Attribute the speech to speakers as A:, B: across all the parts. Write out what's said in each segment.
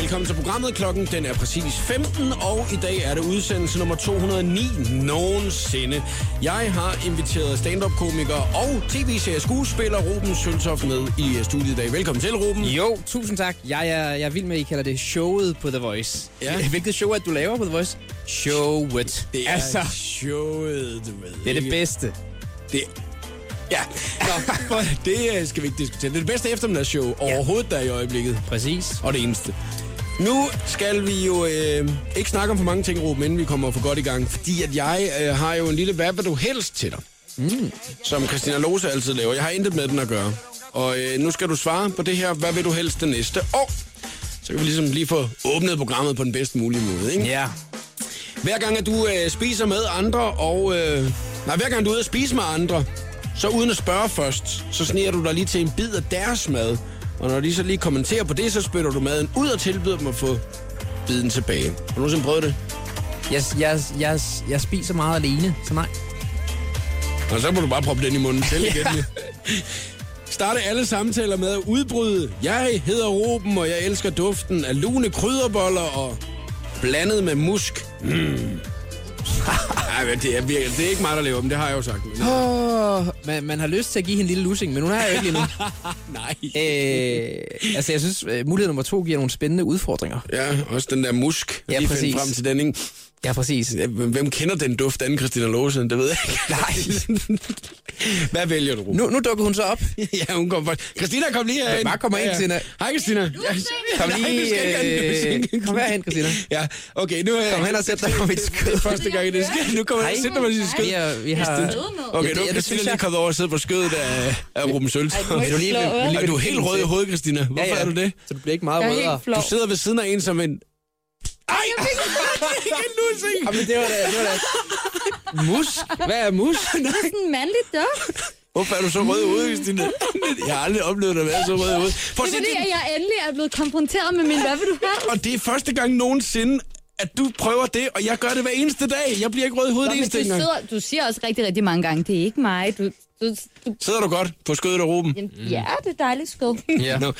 A: velkommen til programmet. Klokken den er præcis 15, og i dag er det udsendelse nummer 209 nogensinde. Jeg har inviteret stand-up-komiker og tv-serie skuespiller Ruben Søltoft med i øh, studiet i dag. Velkommen til, Ruben.
B: Jo, tusind tak. Jeg er, jeg er vild med, at I kalder det showet på The Voice.
A: Ja.
B: Hvilket show er det, du laver på The Voice? Showet.
A: Det er
B: altså,
A: showet, du ved.
B: det er det
A: ikke?
B: bedste.
A: Det Ja, Nå, for- det øh, skal vi ikke diskutere. Det er det bedste eftermiddagsshow overhovedet, der er i øjeblikket.
B: Præcis.
A: og det eneste. Nu skal vi jo øh, ikke snakke om for mange ting, Ruben, inden vi kommer for godt i gang, fordi at jeg øh, har jo en lille hvad vil du helst til dig, mm. som Christina Lose altid laver. Jeg har intet med den at gøre. Og øh, nu skal du svare på det her, hvad vil du helst det næste år? Så kan vi ligesom lige få åbnet programmet på den bedst mulige måde, ikke?
B: Ja.
A: Hver gang, at du øh, spiser med andre, og... Øh, nej, hver gang du er ude at spise med andre, så uden at spørge først, så sniger du dig lige til en bid af deres mad. Og når de så lige kommenterer på det, så spytter du maden ud og tilbyder dem at få biden tilbage. Har du nogensinde prøvet det?
B: Jeg, jeg, jeg, jeg spiser meget alene, så nej.
A: Og så må du bare proppe den i munden selv igen. ja. Starte alle samtaler med at udbryde. Jeg hedder Ruben, og jeg elsker duften af lune krydderboller og blandet med musk. Mm. Ej, men det er, virkelig, det er ikke mig, der laver dem. Det har jeg jo sagt. Men...
B: Oh, man, man har lyst til at give hende en lille lussing, men hun har jeg jo ikke endnu.
A: Nej.
B: øh, altså, jeg synes, øh, mulighed nummer to giver nogle spændende udfordringer.
A: Ja, også den der musk.
B: Ja,
A: lige finde
B: præcis.
A: frem til den, ikke?
B: Ja, præcis.
A: Ja, Hvem kender den duft anden Christina Lose? Det ved jeg ikke.
B: Nej.
A: Hvad vælger du, Ruben?
B: Nu, nu dukker hun så op.
A: ja, hun kom faktisk. Christina, kom lige herind.
B: Bare kom herind, Christina.
A: Hej, Christina. Ja,
B: Kom
A: Nej, du skal ikke have en
B: lige, øh,
A: lussing.
B: kom herhen, Christina.
A: Ja, okay, nu er
B: Kom hen og sæt dig på mit
A: Det er
B: skød.
A: første gang, det sker. Nu kommer jeg
B: Hej.
A: og sætter mig i sin skød.
B: Vi, er, vi har...
A: Okay,
B: Ja,
A: nu er
B: det- ja, det
A: Christina
B: synes
A: lige
B: jeg.
A: kommet over og sidder på skødet af, af Ruben Sølt.
B: Vil du lige, vil, vil lige
A: Ej, du er helt rød i hovedet, Christina. Hvorfor er du det?
B: Så du bliver ikke meget
C: Jeg er
B: rødere.
C: helt flov.
A: Du sidder ved siden af en som en... Ej! Ikke en lussing!
B: Jamen, det var da, det var da... Musk? Hvad er musk?
C: Det er sådan en mandlig duft.
A: Hvorfor er du så rød i hovedet, Christina? Jeg har aldrig oplevet dig at være så rød i hovedet. Prøv
C: Det
A: at se,
C: er fordi,
A: det,
C: at jeg endelig er blevet konfronteret med min hvad vil du have?
A: og det er første gang nogensinde, at du prøver det, og jeg gør det hver eneste dag. Jeg bliver ikke rød i hovedet
C: Nå,
A: Nå,
C: men
A: eneste
C: du,
A: gang.
C: sidder, du siger også rigtig, rigtig mange gange, det er ikke mig. Du, du, du,
A: Sidder du godt på skødet af Ruben?
C: jamen, ja, det er dejligt skød.
B: Ja,
A: Nå.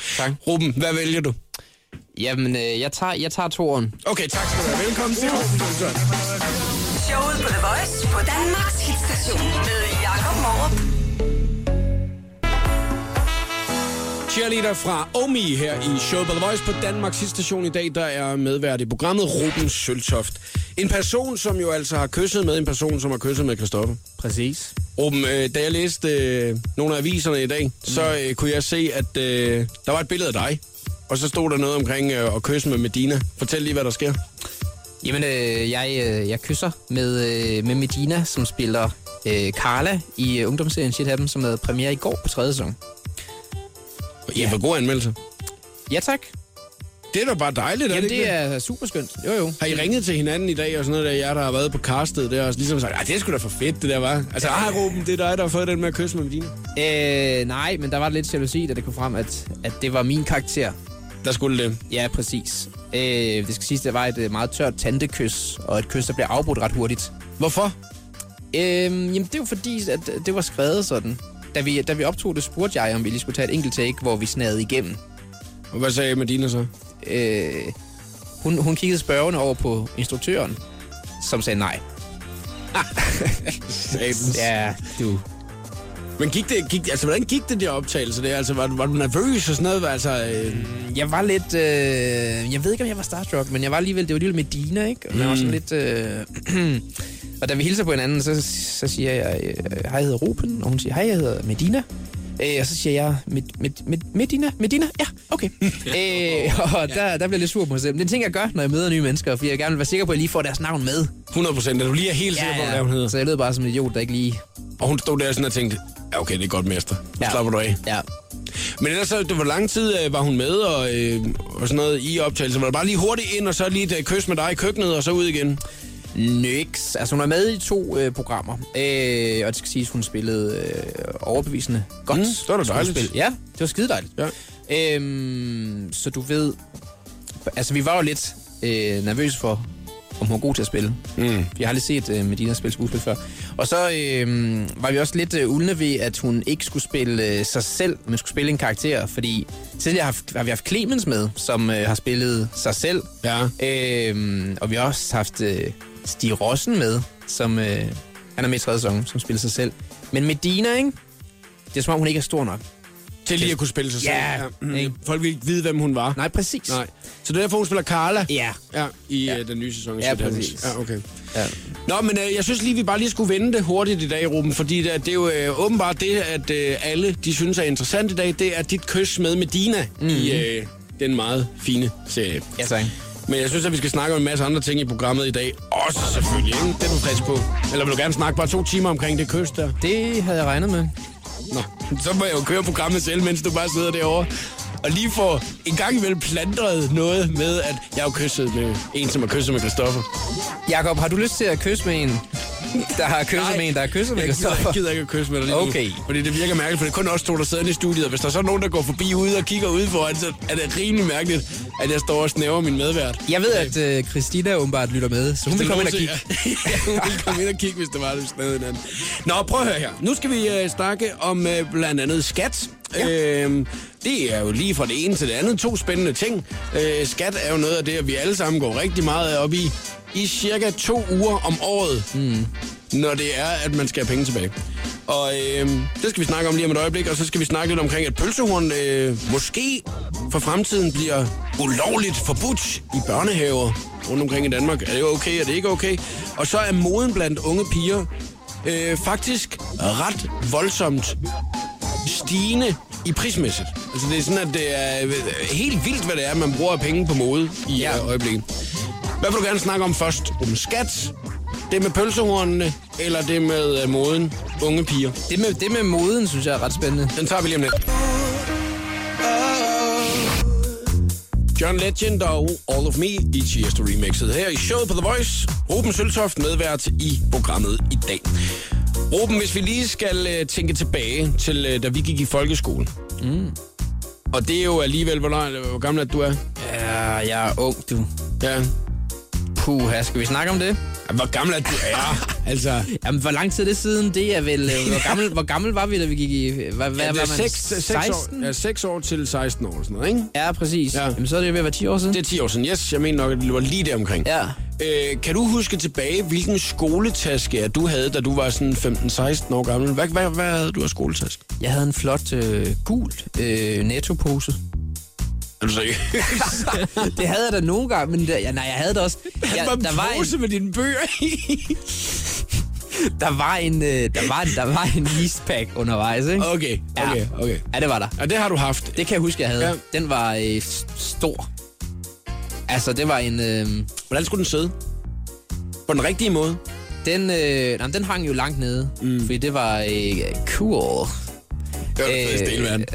A: Ruben, hvad vælger du?
B: Jamen, øh, jeg tager, jeg tager toren.
A: Okay, tak skal du have. Velkommen til Ruben. Sørensen.
D: Showet på The Voice på Danmarks hitstation med Jakob Morup.
A: Cheerleader fra Omi her i Show på The Voice på Danmarks station i dag, der er medvært i programmet Ruben Søltoft. En person, som jo altså har kysset med en person, som har kysset med Christoffer.
B: Præcis.
A: Ruben, øh, da jeg læste øh, nogle af aviserne i dag, så øh, kunne jeg se, at øh, der var et billede af dig. Og så stod der noget omkring øh, at kysse med Medina. Fortæl lige, hvad der sker.
B: Jamen, øh, jeg, øh, jeg kysser med, øh, med Medina, som spiller øh, Carla i øh, ungdomsserien Shit Happen, som havde premiere i går på tredje sæson.
A: I ja. for god anmeldelse.
B: Ja, tak.
A: Det er da bare dejligt, er
B: Jamen,
A: det ikke?
B: det er super skønt. Jo, jo.
A: Har I ringet til hinanden i dag og sådan noget der, jer der har været på castet der, og ligesom sagt, "Ej, det er sgu da for fedt, det der var. Altså, ah, Ruben, det er dig, der har fået den med at kysse med Medina.
B: Øh, nej, men der var lidt jalousi, da det kom frem, at, at det var min karakter.
A: Der skulle det.
B: Ja, præcis. Øh, det skal siges, det var et øh, meget tørt tantekys, og et kys, der blev afbrudt ret hurtigt.
A: Hvorfor?
B: Øhm, jamen, det er jo fordi, at øh, det var skrevet sådan. Da vi, da vi optog det, spurgte jeg, om vi lige skulle tage et enkelt take, hvor vi snagede igennem.
A: Og hvad sagde Medina så?
B: Øh, hun, hun kiggede spørgende over på instruktøren, som sagde nej.
A: Satans.
B: Ja, du.
A: Men gik det, gik, altså, hvordan gik det der optagelse der? Altså, var, du- var du nervøs og sådan noget? Altså, øh,
B: Jeg var lidt... Øh, jeg ved ikke, om jeg var starstruck, men jeg var alligevel... Det var alligevel med Dina, ikke? Og man var
A: Mm.
B: sådan lidt... Øh, og da vi hilser på hinanden, så, så siger jeg... øh, Hej, jeg hedder Ruben. Og hun siger, hej, jeg hedder Medina. Øh, og så siger jeg, med, med, med, Medina, Medina, ja, okay. øh, og der, der bliver jeg lidt sur på mig selv. Men det er en ting, jeg gør, når jeg møder nye mennesker, fordi jeg gerne vil være sikker på, at jeg lige får deres navn med.
A: 100 procent, Altså, du lige er helt sikker på, hvad hun hedder.
B: Så jeg lød bare som en idiot, der ikke lige...
A: Og hun stod der sådan og tænkte, ja, okay, det er godt, mester. Nu
B: Ja.
A: slapper du af.
B: Ja.
A: Men ellers, så, det var lang tid, øh, var hun med og, øh, og sådan noget i optagelsen. Var det bare lige hurtigt ind, og så lige et øh, kys med dig i køkkenet, og så ud igen?
B: Nix. Altså, hun er med i to øh, programmer. Øh, og det skal siges, hun spillede øh, overbevisende godt.
A: Mm, det var da dejligt.
B: skuespil. Ja, det var skide dejligt.
A: Ja.
B: Øhm, så du ved... Altså, vi var jo lidt øh, nervøse for, om hun var god til at spille.
A: Mm.
B: Jeg har aldrig set øh, Medina spille skuespil før. Og så øh, var vi også lidt øh, ulne ved, at hun ikke skulle spille øh, sig selv, men skulle spille en karakter. Fordi tidligere har, har vi haft Clemens med, som øh, har spillet sig selv.
A: Ja.
B: Øh, og vi har også haft øh, Stig Rossen med, som øh, han er med i tredje sæson, som spiller sig selv. Men Medina, ikke? Det er som om, hun ikke er stor nok.
A: Til lige at kunne spille sig selv.
B: Ja.
A: Mm. Folk ville ikke vide, hvem hun var.
B: Nej, præcis.
A: Nej. Så det er derfor, hun spiller Carla.
B: Ja.
A: Ja, i
B: Ja.
A: ja. den nye sæson. af
B: Ja,
A: Sydhavns.
B: præcis.
A: Ja, okay.
B: Ja.
A: Nå, men øh, jeg synes lige, vi bare lige skulle vende det hurtigt i dag, Ruben, fordi det, er- det er jo øh, åbenbart det, at øh, alle de synes er interessant i dag, det er dit kys med Medina
B: Mhm.
A: mm-hmm. i øh, den meget fine serie.
B: Ja, tak.
A: Men jeg synes, at vi skal snakke om en masse andre ting i programmet i dag. Også selvfølgelig, ikke? Det er du frisk på. Eller vil du gerne snakke bare to timer omkring det kys der?
B: Det havde jeg regnet med.
A: Nå, så må jeg jo køre programmet selv, mens du bare sidder derovre. Og lige få en gang imellem plantret noget med, at jeg har jo kysset med en, som har kysset med Christoffer.
B: Jakob, har du lyst til at kysse med en, der har kysset
A: Nej.
B: med en, der har kysset med
A: jeg gider,
B: Christoffer?
A: jeg gider ikke at kysse med dig lige
B: Okay.
A: nu, Fordi det virker mærkeligt, for det er kun os to, der sidder inde i studiet. Og hvis der er så nogen, der går forbi ude og kigger udenfor, så er det rimelig mærkeligt, at jeg står og snæver min medvært.
B: Jeg ved, at øh, Christina åbenbart lytter med, så hun vil komme ind og kigge.
A: Ja, hun ville komme ind og kigge, hvis der var det sned hinanden. Nå, prøv at høre her. Nu skal vi øh, snakke om øh, blandt andet skat. Ja. Øhm, det er jo lige fra det ene til det andet to spændende ting. Øh, skat er jo noget af det, vi alle sammen går rigtig meget op i. I cirka to uger om året, mm. når det er, at man skal have penge tilbage. Og øh, det skal vi snakke om lige om et øjeblik, og så skal vi snakke lidt omkring, at pølsehorn øh, måske for fremtiden bliver ulovligt forbudt i børnehaver rundt omkring i Danmark. Er det okay, er det ikke okay? Og så er moden blandt unge piger øh, faktisk ret voldsomt stigende i prismæssigt. Altså det er sådan, at det er øh, helt vildt, hvad det er, man bruger af penge på mode i ja. øjeblikket. Hvad vil du gerne snakke om først? Om skat? Det med pølsehornene? Eller det med øh, moden unge piger?
B: Det med, det med moden, synes jeg er ret spændende.
A: Den tager vi lige om lidt. John Legend og All of Me i Cheers to Remixet her i showet på The Voice. Ruben Søltoft medvært i programmet i dag. Ruben, hvis vi lige skal øh, tænke tilbage til, øh, da vi gik i folkeskolen. Mm. Og det er jo alligevel, hvor, lang- hvor gammel er du er.
B: Ja, jeg er ung, du.
A: Ja.
B: Puha, skal vi snakke om det?
A: Ja, Hvor gammel er du er. altså,
B: Jamen, hvor lang tid er det siden? Det er vel... øh, Hvor gammel, hvor gammel var vi, da vi gik i... Hvad, hvad
A: ja,
B: var
A: det er
B: man?
A: 6, 6 år,
B: 16?
A: ja, 6 år til 16 år, sådan noget, ikke?
B: Ja, præcis.
A: Ja.
B: Ja. Jamen, så er det jo ved at være 10 år siden.
A: Det er 10 år siden, yes. Jeg mener nok, at det var lige der omkring.
B: Ja.
A: Øh, kan du huske tilbage, hvilken skoletaske at du havde, da du var sådan 15-16 år gammel? Hvad, hvad, hvad havde du af skoletaske?
B: Jeg havde en flot øh, gul øh, nettopose.
A: Er du seriøs?
B: det havde jeg da nogle gange, men det, ja, nej, jeg havde det også. Jeg, der var en,
A: med dine bøger i.
B: der var en, øh, der var, der var en ispack undervejs, ikke?
A: Okay, okay, okay.
B: Ja, det var der.
A: Og det har du haft.
B: Det kan jeg huske, jeg havde.
A: Ja.
B: Ja. Den var øh, s- stor. Altså, det var en... Øh,
A: Hvordan skulle den sidde? På den rigtige måde?
B: den, øh, nej, den hang jo langt nede, mm. fordi det var øh, cool.
A: Det var øh, fedeste i hele verden.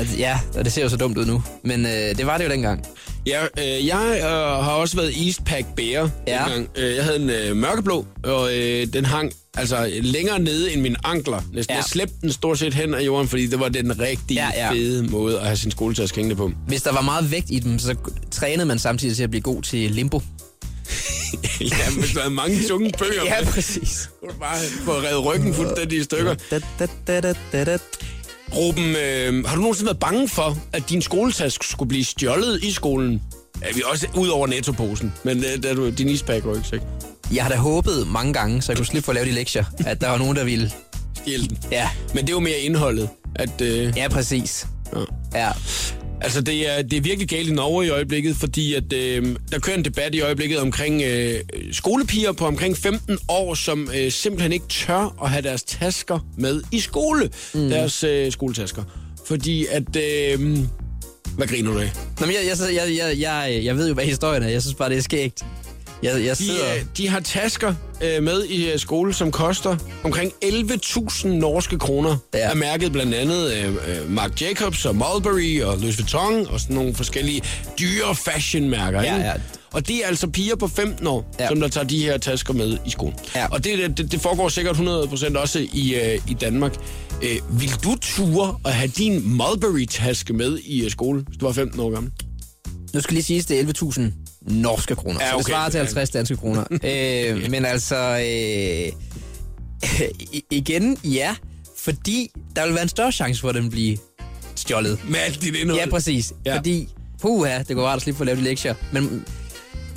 B: øh, ja, og det ser jo så dumt ud nu. Men øh, det var det jo dengang.
A: Ja, øh, jeg øh, har også været Eastpack bærer
B: Ja.
A: ja. gang. Øh, jeg havde en øh, mørkeblå, og øh, den hang altså længere nede end mine ankler. Næsten.
B: Ja.
A: Ja. Jeg slæbte den stort set hen ad jorden, fordi det var den rigtige
B: Ja,
A: ja,
B: ja.
A: ja. fede måde at have sin skoletaske hængende på.
B: Hvis der var meget vægt i dem, så trænede man samtidig til at blive god til limbo.
A: ja, men der er mange tunge bøger. ja.
B: præcis.
A: Bare få reddet ryggen fuldstændig i stykker.
B: Da, da, da, da, da, da.
A: Ruben, øh, har du nogensinde været bange for, at din skoletaske skulle blive stjålet i skolen? Ja, vi er også ud over nettoposen, men øh, da du, din ispakke var jo ikke sikker.
B: Jeg har da håbet mange gange, så jeg kunne slippe for at lave de lektier, at der var nogen, der ville.
A: Stjæl den.
B: Ja,
A: Men det er jo mere indholdet, at... Øh,
B: ja præcis.
A: ja.
B: Ja,
A: Altså, det er, det er virkelig galt i Norge i øjeblikket, fordi at, øh, der kører en debat i øjeblikket omkring øh, skolepiger på omkring 15 år, som øh, simpelthen ikke tør at have deres tasker med i skole. Mm. Deres øh, skoletasker. Fordi at... Øh, hvad griner du af?
B: Nå, men jeg, jeg, jeg, jeg, jeg, jeg ved jo, hvad historien er. Jeg synes bare, det er skægt. Jeg, jeg
A: De,
B: sidder...
A: øh, de har tasker øh, med i øh, skole, som koster omkring 11.000 norske kroner.
B: Ja.
A: Ja. Er mærket blandt andet øh, øh, Marc Jacobs og Mulberry og Louis Vuitton og sådan nogle forskellige dyre fashionmærker.
B: Ja,
A: ikke?
B: ja.
A: Og det er altså piger på 15 år,
B: Ja.
A: ja. som der tager de her tasker med i skolen.
B: Ja.
A: Og det, det, det foregår sikkert 100% også i, øh, i Danmark. Øh, vil du ture at have din Mulberry-taske med i øh, skole, hvis du var 15 år gammel?
B: Nu skal lige siges, det er 11.000 norske kroner.
A: Ja,
B: Ja, okay. Så
A: okay.
B: det svarer til 50 danske kroner. øh, men altså, øh, i- igen, ja, fordi der vil være en større chance for, at den bliver stjålet.
A: Med alt dit indhold.
B: Ja, præcis.
A: Ja.
B: Ja. Fordi, puha, det går rart at slippe for at lave de lektier. Men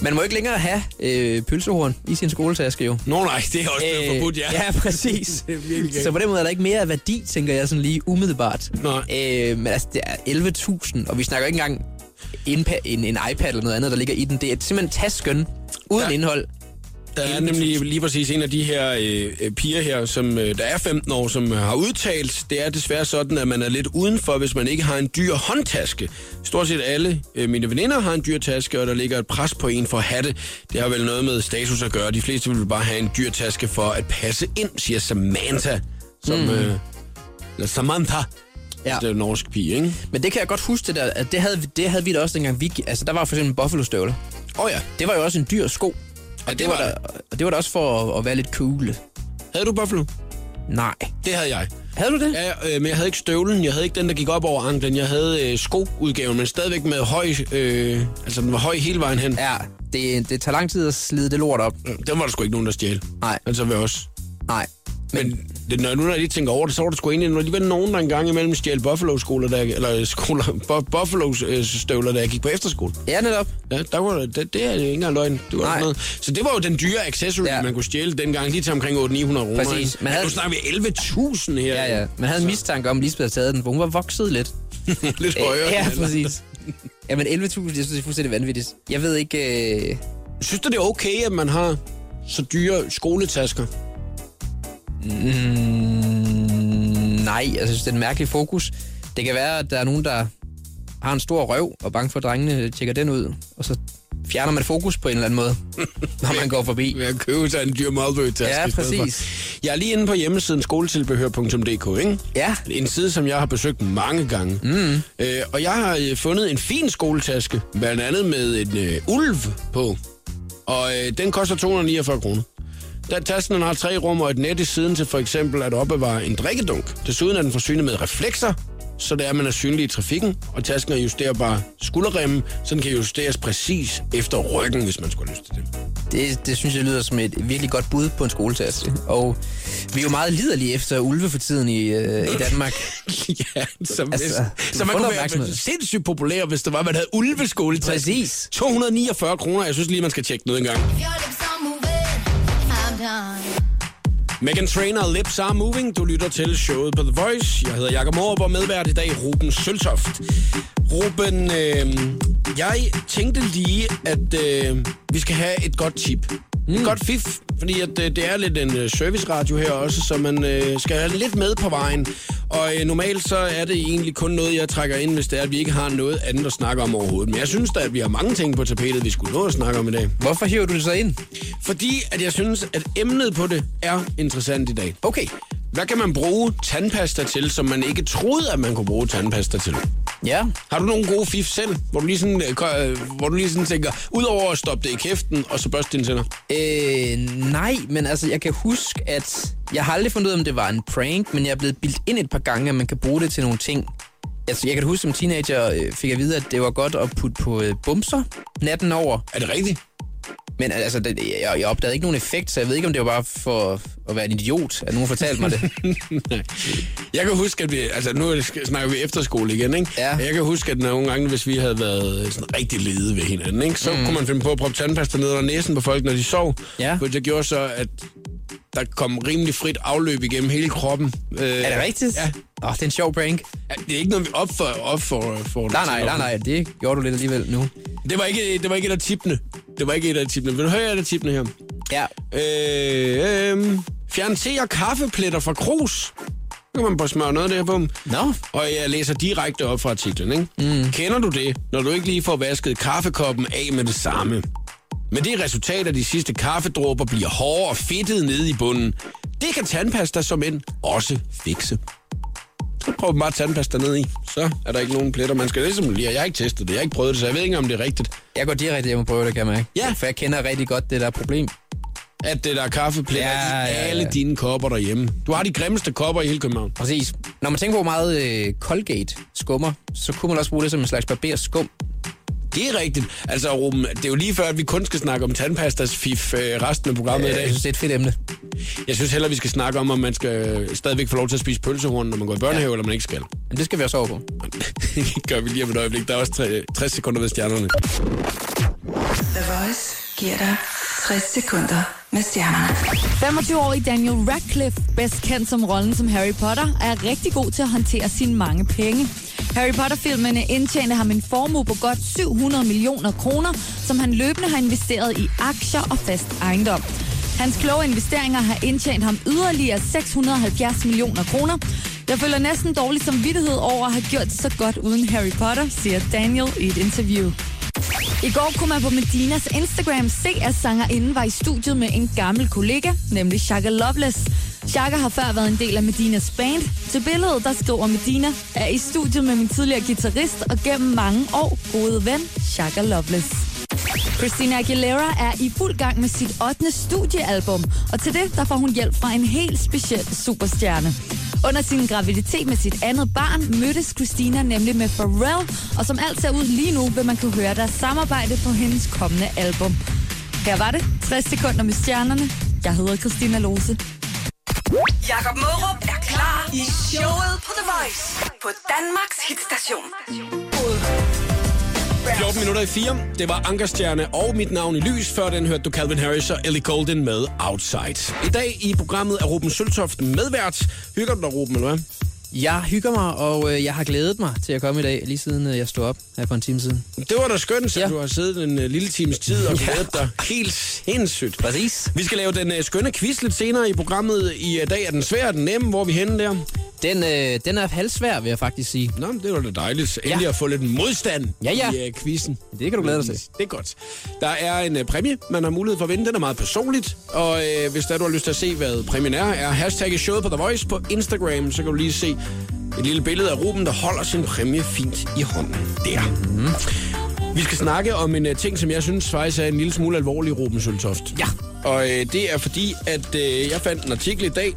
B: man må ikke længere have øh, pølsehorn i sin skoletaske, jo.
A: Nå nej, det er også blevet
B: Øh,
A: forbudt, ja.
B: Ja, præcis.
A: Det er virkelig galt.
B: så på den måde er der ikke mere af værdi, tænker jeg sådan lige umiddelbart.
A: Nej.
B: Øh, men altså, det er 11.000, og vi snakker ikke engang indpa- en, en iPad eller noget andet, der ligger i den. Det er simpelthen tasken uden
A: Ja.
B: ja. indhold.
A: Der er nemlig lige præcis en af de her øh, øh, piger her, som øh, der er 15 år, som øh, har udtalt, det er desværre sådan, at man er lidt udenfor, hvis man ikke har en dyr håndtaske. Stort set alle øh, mine veninder har en dyr taske, og der ligger et pres på en for at have det. Det har vel noget med status at gøre. De fleste vil bare have en dyr taske for at passe ind, siger Samantha. Som, mm. øh, eller Samantha. Ja.
B: Ja.
A: Det er en norsk pige, ikke?
B: Men det kan jeg godt huske, det der, at det havde, vi- det havde vi da også dengang. Vi, gi- altså, der var for eksempel buffalo-støvler.
A: Åh oh, ja.
B: Det var jo også en dyr sko. Og,
A: Ja,
B: det,
A: det
B: var
A: var
B: der, og det var da også for at, at være lidt cool.
A: Havde du buffalo?
B: Nej.
A: Det havde jeg.
B: Havde du det?
A: Ja, øh, men jeg havde ikke støvlen. Jeg havde ikke den, der gik op over anklen. Jeg havde øh, skoudgaven, men stadigvæk med høj... Øh, altså, den var høj hele vejen hen. Ja.
B: Ja, det, det tager lang tid at slide det lort op.
A: Den var der sgu ikke nogen, der stjæl.
B: Nej.
A: Altså ved os.
B: Nej.
A: Men, men det, når, nu når jeg lige tænker over det, så var der sgu egentlig alligevel nogen, der engang imellem stjæl Buffalo-skoler, der, eller øh, skoler, bu- Buffalo-støvler, da jeg gik på efterskole.
B: Ja, netop.
A: Ja, der var, det, det er ikke engang løgn. Det var
B: Nej.
A: sådan noget. Så det var jo den dyre accessory, ja.
B: Ja.
A: man kunne stjæle dengang, lige til omkring 800-900 kroner. Men
B: Præcis. Man
A: havde...
B: havde-
A: Nu snakker vi 11.000 her.
B: Ja, ja. Man havde en mistanke om, at Lisbeth havde taget den, for hun var vokset lidt.
A: Lidt højere.
B: Ja, præcis. Jamen 11.000, jeg synes, det er fuldstændig vanvittigt. Jeg ved ikke... Øh...
A: Synes du, det er okay, at man har så dyre skoletasker?
B: Mm, nej, altså, jeg synes, det er en mærkelig fokus. Det kan være, at der er nogen, der har en stor røv og er bange for, at drengene tjekker den ud. Og så fjerner man fokus på en eller anden måde, når man går forbi.
A: Ved at købe sig en dyr Marlboro-taske.
B: Ja,
A: i stedet
B: præcis.
A: for. Jeg er lige inde på hjemmesiden skoletilbehør.dk, ikke?
B: Ja.
A: En side, som jeg har besøgt mange gange. Mm. Øh, og jeg har øh, fundet en fin skoletaske, blandt andet med en øh, ulv på. Og øh, den koster 249 kroner. Der tasken den har tre rum og et net i siden til for eksempel at opbevare en drikkedunk. Desuden er den forsynet med reflekser, så det er, at man er synlig i trafikken, og tasken er justerbar skulderremme, så den kan justeres præcis efter ryggen, hvis man skulle have lyst til det.
B: Det, det synes jeg lyder som et virkelig godt bud på en skoletaske. Og vi er jo meget liderlige efter ulve for tiden i, øh, i Danmark.
A: ja, som,
B: Altså,
A: altså,
B: du
A: som man
B: får
A: kunne være
B: opmærksomhed.
A: sindssygt populær, hvis det var, man havde ulveskole til.
B: Præcis.
A: 249 kroner, jeg synes lige, man skal tjekke noget engang.
E: Your lips are moving. I'm done.
A: Megan Trainer og Lips Are Moving. Du lytter til showet på The Voice. Jeg hedder Jakob Morup og medvært i dag Ruben Søltoft. Ruben, øh, jeg tænkte lige, at øh, vi skal have et godt tip. Mm. Et godt fif, fordi at, øh, det er lidt en øh, serviceradio her også, så man øh, skal have lidt med på vejen. Og øh, normalt så er det egentlig kun noget, jeg trækker ind, hvis det er, at vi ikke har noget andet at snakke om overhovedet. Men jeg synes da, at vi har mange ting på tapetet, vi skulle nå at snakke om i dag.
B: Hvorfor hiver du det så ind?
A: Fordi at jeg synes, at emnet på det er interessant i dag.
B: Okay.
A: Hvad kan man bruge tandpasta til, som man ikke troede, at man kunne bruge tandpasta til?
B: Ja.
A: Har du nogle gode fif selv, hvor du lige sådan, øh, ko- øh, hvor du lige sådan tænker, udover at stoppe det i kæften, og så børste dine tænder?
B: Øh, nej, men altså, jeg kan huske, at jeg har aldrig fundet ud af, om det var en prank, men jeg er blevet bildt ind et par gange, at man kan bruge det til nogle ting. Altså, jeg kan huske, som teenager øh, fik jeg at vide, at det var godt at putte på øh, bumser natten over.
A: Er det rigtigt?
B: Men altså, det, jeg, jeg opdagede ikke nogen effekt, så jeg ved ikke, om det var bare for at være en idiot, at nogen fortalte mig det.
A: Jeg kan huske, at vi... Altså, nu er det- snakker vi efterskole igen, ikke?
B: Ja.
A: Jeg kan huske, at nogle gange, hvis vi havde været sådan rigtig lede ved hinanden, ikke? Så mm. kunne man finde på at proppe tandpasta ned under næsen på folk, når de sov.
B: Ja.
A: For det gjorde så, at der kom rimelig frit afløb igennem hele kroppen. Øh,
B: er det rigtigt?
A: Ja.
B: Åh, oh, det er en sjov prank.
A: Det er ikke noget, vi op for... Op for, for
B: Nej, nej, nej, nej, det gjorde du lidt alligevel nu.
A: Det var ikke, det var ikke et af tipene. Det var ikke et af tipene. Vil du høre et af tipene her?
B: Ja,
A: Øh, øh, fjern te og kaffepletter fra krus. Så kan man bare smøre noget der på dem.
B: Nå.
A: Og jeg læser direkte op fra artiklen, ikke? Mm. Kender du det, når du ikke lige får vasket kaffekoppen af med det samme? Men det resultat af de sidste kaffedråber bliver hårde og fedtede nede i bunden. Det kan tandpasta som end også fikse. Så prøv bare tandpasta ned i. Så er der ikke nogen pletter. Man skal ligesom lige, og jeg har ikke testet det, jeg har ikke prøvet det, så jeg ved ikke, om det er rigtigt.
B: jeg går direkte hjem og prøver det, kan man ikke?
A: Ja.
B: For jeg kender rigtig godt det der problem.
A: at det der er kaffeplætter ja, ja, ja. i alle dine kopper derhjemme. Du har de grimmeste kopper i hele København.
B: Præcis. Når man tænker på, hvor meget øh, Colgate skummer, så kunne man også bruge det som en slags barberskum.
A: Det er rigtigt. Altså, Ruben, det er jo lige før, at vi kun skal snakke om tandpastas fif øh, resten af programmet i
B: Jeg
A: dag.
B: synes, det er et fedt emne.
A: Jeg synes heller, vi skal snakke om, om man skal øh, stadigvæk få lov til at spise pølsehorn, når man går i børnehave, ja. eller man ikke skal.
B: Men det skal vi også over på.
A: det gør vi lige om et øjeblik. Der er også tre- 60 sekunder ved stjernerne.
D: The Voice giver dig 60 sekunder med stjernerne.
F: 25-årig Daniel Radcliffe, bedst kendt som rollen som Harry Potter, er rigtig god til at håndtere sine mange penge. Harry Potter-filmene indtjente ham en formue på godt 700 millioner kroner, som han løbende har investeret i aktier og fast ejendom. Hans kloge investeringer har indtjent ham yderligere 670 millioner kroner. Jeg føler næsten dårlig samvittighed over at have gjort det så godt uden Harry Potter, siger Daniel i et interview. I går kunne man på Medinas Instagram se, at sangerinden var i studiet med en gammel kollega, nemlig Shaka Loveless. Shaka har før været en del af Medinas band. Til billedet, der skriver Medina, er i studiet med min tidligere guitarist og gennem mange år gode ven, Shaka Loveless. Christina Aguilera er i fuld gang med sit 8. studiealbum, og til det der får hun hjælp fra en helt speciel superstjerne. Under sin graviditet med sit andet barn mødtes Christina nemlig med Pharrell, og som alt ser ud lige nu, vil man kunne høre deres samarbejde på hendes kommende album. Her var det 60 sekunder med stjernerne. Jeg hedder Christina Lose.
D: Jakob Mørup er klar i showet på The Voice på Danmarks hitstation.
A: 14 minutter i 4. Det var Ankerstjerne og mit navn i lys. Før den hørte du Calvin Harris og Ellie Golden med Outside. I dag i programmet er Ruben Søltoft medvært. Hygger du dig, Ruben, eller hvad?
B: Jeg hygger mig, og øh, jeg har glædet mig til at komme i dag, lige siden øh, jeg stod op her for en time siden.
A: Det var da skønt, så ja.
B: Ja.
A: du har siddet en uh, lille times tid og glædet dig helt sindssygt.
B: Præcis.
A: Vi skal lave den uh, skønne quiz lidt senere i programmet. I uh, dag er den svære og den nemme. Hvor er vi henne der?
B: Den, øh, den er halvsvær, vil jeg faktisk sige.
A: Nå, men det var da dejligt. Endelig ja.
B: Ja.
A: at få lidt modstand
B: Ja, ja.
A: i uh, quizzen. Mm,
B: Det kan du glæde dig til.
A: Det er godt. Der er en uh, præmie, man har mulighed for at vinde. Den er meget personligt. Og uh, hvis der du har lyst til at se, hvad præmien er, er hashtagget showet på The Voice på Instagram. Så kan du lige se et lille billede af Ruben, der holder sin præmie fint i hånden. Der. Mm. Vi skal snakke om en uh, ting, som jeg synes faktisk er en lille smule alvorlig, Ruben Søltoft.
B: Ja.
A: Og øh, det er fordi, at øh, jeg fandt en artikel i dag.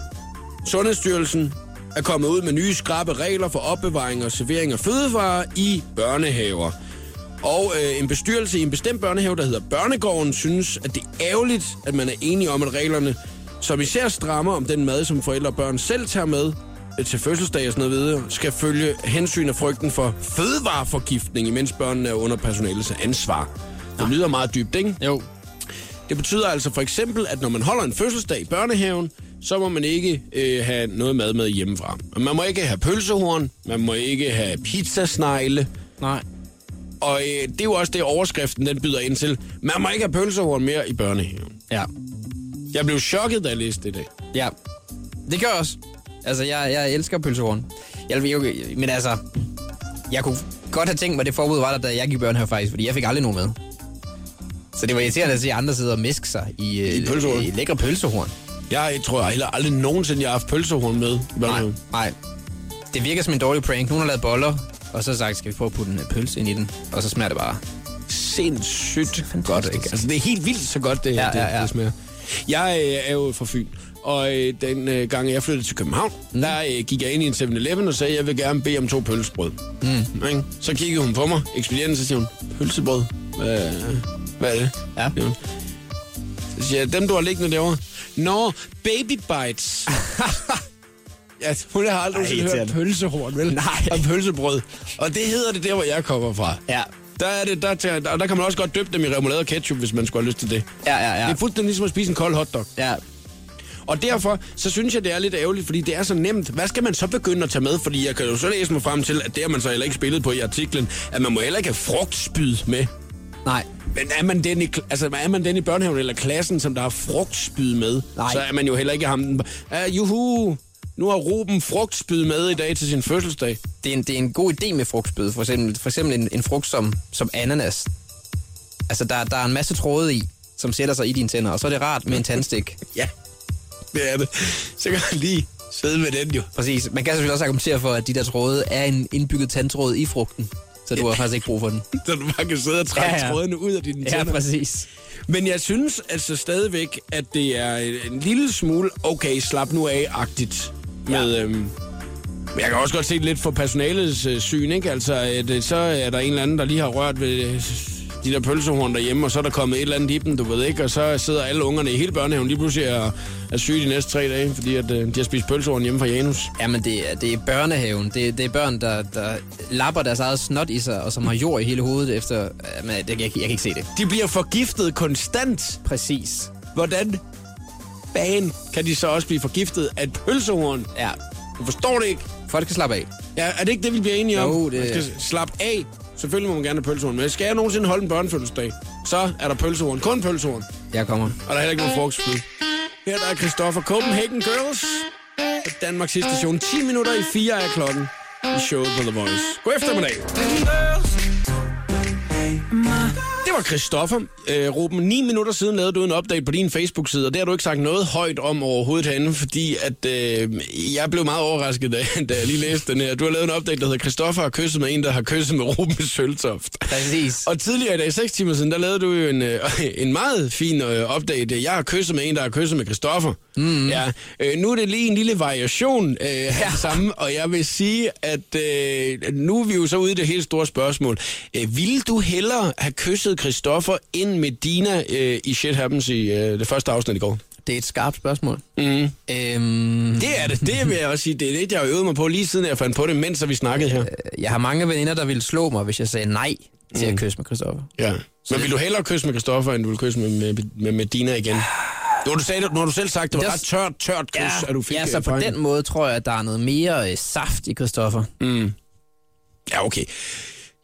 A: Sundhedsstyrelsen er kommet ud med nye skrappe regler for opbevaring og servering af fødevarer i børnehaver. Og øh, en bestyrelse i en bestemt børnehave, der hedder Børnegården, synes, at det er ærgerligt, at man er enige om, at reglerne, som især strammer om den mad, som forældre og børn selv tager med øh, til fødselsdag og sådan noget videre, skal følge hensyn og frygten for fødevareforgiftning, imens børnene er under personalets ansvar. Det lyder meget dybt, ikke?
B: Jo.
A: Det betyder altså for eksempel, at når man holder en fødselsdag i børnehaven, så må man ikke øh, have noget mad med hjemmefra. Og Man må ikke have pølsehorn, man må ikke have pizzasnegle,
B: Nej.
A: og øh, det er jo også det, overskriften den byder ind til. Man må ikke have pølsehorn mere i børnehaven.
B: Ja.
A: Jeg blev chokket, da jeg læste det i dag.
B: Ja. Det gør jeg også. Altså, jeg, jeg elsker pølsehorn. Jeg, jeg, men altså, jeg kunne godt have tænkt mig, at det forbud var der, da jeg gik i børnehave faktisk, fordi jeg fik aldrig nogen med. Så det var irriterende at se andre sidde og miske sig i, øh,
A: I pølsehorn.
B: i lækre pølsehorn.
A: Jeg tror jeg heller aldrig nogensinde, jeg har haft pølsehorn med i
B: Nej,
A: børnehaven.
B: nej. Det virker som en dårlig prank. Nogen har lavet boller, og så har sagt, skal vi prøve at putte en øh, pølse ind i den, og så smager det bare.
A: sindssygt
B: Fantastisk.
A: godt, ikke? Altså, det er helt vildt så godt, det, ja,
B: Ja,
A: det, ja,
B: ja,
A: ja.
B: ja.
A: det smager. Jeg øh, er jo fra Fyn, og øh, den øh, gang, jeg flyttede til København,
B: Mhm.
A: mm. der øh, gik jeg ind i en 7-Eleven og sagde, jeg vil gerne bede om to pølsebrød.
B: Mhm.
A: Mm. Ikke? Så kiggede hun på mig, ekspedienten, så siger hun, pølsebrød? Hvad, hvad er det?
B: Ja.
A: Siger hun. Så siger jeg, dem du har liggende derovre. Nå, baby bites. Ja, hun har aldrig nogensinde hørt
B: irriterende.
A: pølsehorn, vel?
B: Nej.
A: Og pølsebrød. Og det hedder det der, hvor jeg kommer fra.
B: Ja.
A: Der, er det, der, tager- og der kan man også godt døbe dem i remoulade og ketchup, hvis man skulle have lyst til det.
B: Ja, ja,
A: Ja.
B: ja.
A: Det er fuldstændig ligesom at spise en kold hotdog.
B: ja.
A: Og derfor, så synes jeg, det er lidt ærgerligt, fordi det er så nemt. Hvad skal man så begynde at tage med? Fordi jeg kan jo så læse mig frem til, at det har man så heller ikke spillet på i artiklen, at man må heller ikke have frugtspyd med.
B: Nej.
A: Men er man, den i, kl- altså, er man den i børnehaven eller klassen, som der har frugtspyd med,
B: Nej.
A: så er man jo heller ikke ham den... Uh, juhu, nu har Ruben frugtspyd med i dag til sin fødselsdag.
B: det er en, det er en god idé med frugtspyd. For eksempel, for eksempel en, en frugt som, som ananas. Altså, der, der er en masse tråde i, som sætter sig i dine tænder, og så er det rart med en tandstik.
A: Ja, det er det. Så kan man lige sidde med den jo.
B: Præcis. Man kan selvfølgelig også argumentere for, at de der tråde er en indbygget tandtråd i frugten. Så du har faktisk ikke brug for den.
A: Så du bare kan sidde og trække ja,
B: Ja,
A: ja.
B: ja.
A: trådene ud af dine tænder.
B: præcis.
A: Men jeg synes altså stadigvæk, at det er en lille smule, okay, slap nu af-agtigt med, ja. øhm, Men jeg kan også godt se det lidt for personalets øh, syn, ikke? Altså, at, øh, så er der en eller anden, der lige har rørt ved øh, de der pølsehorn derhjemme, og så er der kommet et eller andet i dem, du ved ikke, og så sidder alle ungerne i hele børnehaven lige pludselig og er syge de næste tre dage, fordi at, øh, de har spist pølsehorn hjemme fra Janus.
B: Jamen, det er, det er børnehaven. Det, det er børn, der, der lapper deres eget snot i sig, og som har jord i hele hovedet efter... Jamen, det, jeg, jeg kan ikke se det.
A: De bliver forgiftet konstant.
B: Præcis.
A: Hvordan bagen kan de så også blive forgiftet af et pølsehorn?
B: Ja.
A: Du forstår det ikke.
B: Folk kan slappe af.
A: Ja, er det ikke det, vi bliver enige om?
B: Jo, det-
A: Man skal slappe af. Selvfølgelig må man gerne have pølsehorn, men skal jeg nogensinde holde en børnefødselsdag, så er der pølsehorn. Kun pølsehorn.
B: Jeg kommer.
A: Og der er heller ikke nogen frokostfløde. Her der er Christoffer Copenhagen Girls. På Danmarks station 10 minutter i 4 af klokken i showet på The Voice. God eftermiddag. Det var Christoffer. Øh, Ruben, 9 minutter siden lavede du en update på din Facebook-side, og det har du ikke sagt noget højt om overhovedet herinde, fordi at, øh, jeg blev meget overrasket, da, da jeg lige læste den her. Du har lavet en update, der hedder Christoffer har kysset med en, der har kysset med Ruben Søltoft.
B: Præcis.
A: Og tidligere i dag, 6 timer siden, der lavede du jo en, øh, en meget fin øh, update. Jeg har kysset med en, der har kysset med Christoffer. Mm. Ja. Øh, nu er det lige en lille variation øh, af det samme, og jeg vil sige, at øh, nu er vi jo så ude i det helt store spørgsmål. Øh, ville du hellere have kysset Christoffer end Medina øh, i Shit Happens i øh, det første afsnit i går?
B: Det er et skarpt spørgsmål. Mm. Øhm,
A: Det er det. Det vil jeg også sige. Det er det, jeg har øvet mig på lige siden jeg fandt på det, mens vi snakkede her.
B: jeg har mange veninder, der ville slå mig, hvis jeg sagde nej til at kysse med Christoffer.
A: Ja. Men vil du hellere kysse med Christoffer, end du vil kysse med, med, med Medina igen? Nu har du, sagde, nu har du selv sagt, det var
B: Det er-
A: ret tørt, tørt kys, at du fik
B: ja, så
A: øh,
B: på
A: fejlen.
B: den måde tror jeg, at der er noget mere øh, saft i Christoffer.
A: Ja, okay.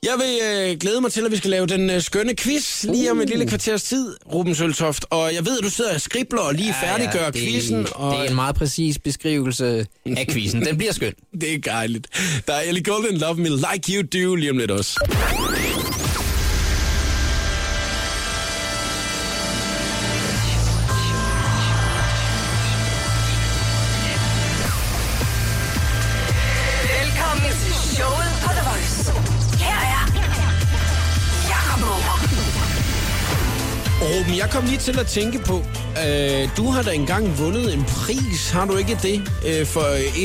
A: Jeg vil øh, glæde mig til, at vi skal lave den øh, skønne quiz lige om et lille kvarters tid, Ruben Søltoft. Og jeg ved, at du sidder og skribler og lige ja, færdiggør ja,
B: det,
A: quizzen. Og...
B: Det er en meget præcis beskrivelse af quizzen. Den bliver skøn.
A: det er dejligt. Der er Ellie Golden, Love Me Like You Do, lige om lidt også.
D: Velkommen til showet på The Voice. Her er Jakob Morup.
A: Ruben, jeg kom lige til at tænke på, øh, du har da engang vundet en pris, har du ikke det, øh, for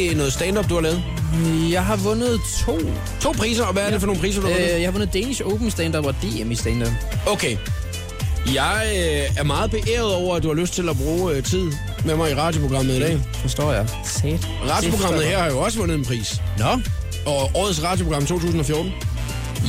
A: øh, noget stand-up, du har lavet?
B: Jeg har vundet to.
A: To priser, og hvad er det for nogle priser, du har vundet?
B: Øh, jeg har vundet Danish Open Stand-Up og DM i stand-up.
A: Okay. Jeg øh, er meget beæret over, at du har lyst til at bruge øh, tid med mig i radioprogrammet i dag.
B: Forstår jeg. Sæt.
A: Radioprogrammet her har jo også vundet en pris.
B: Nå.
A: Og årets radioprogram 2014.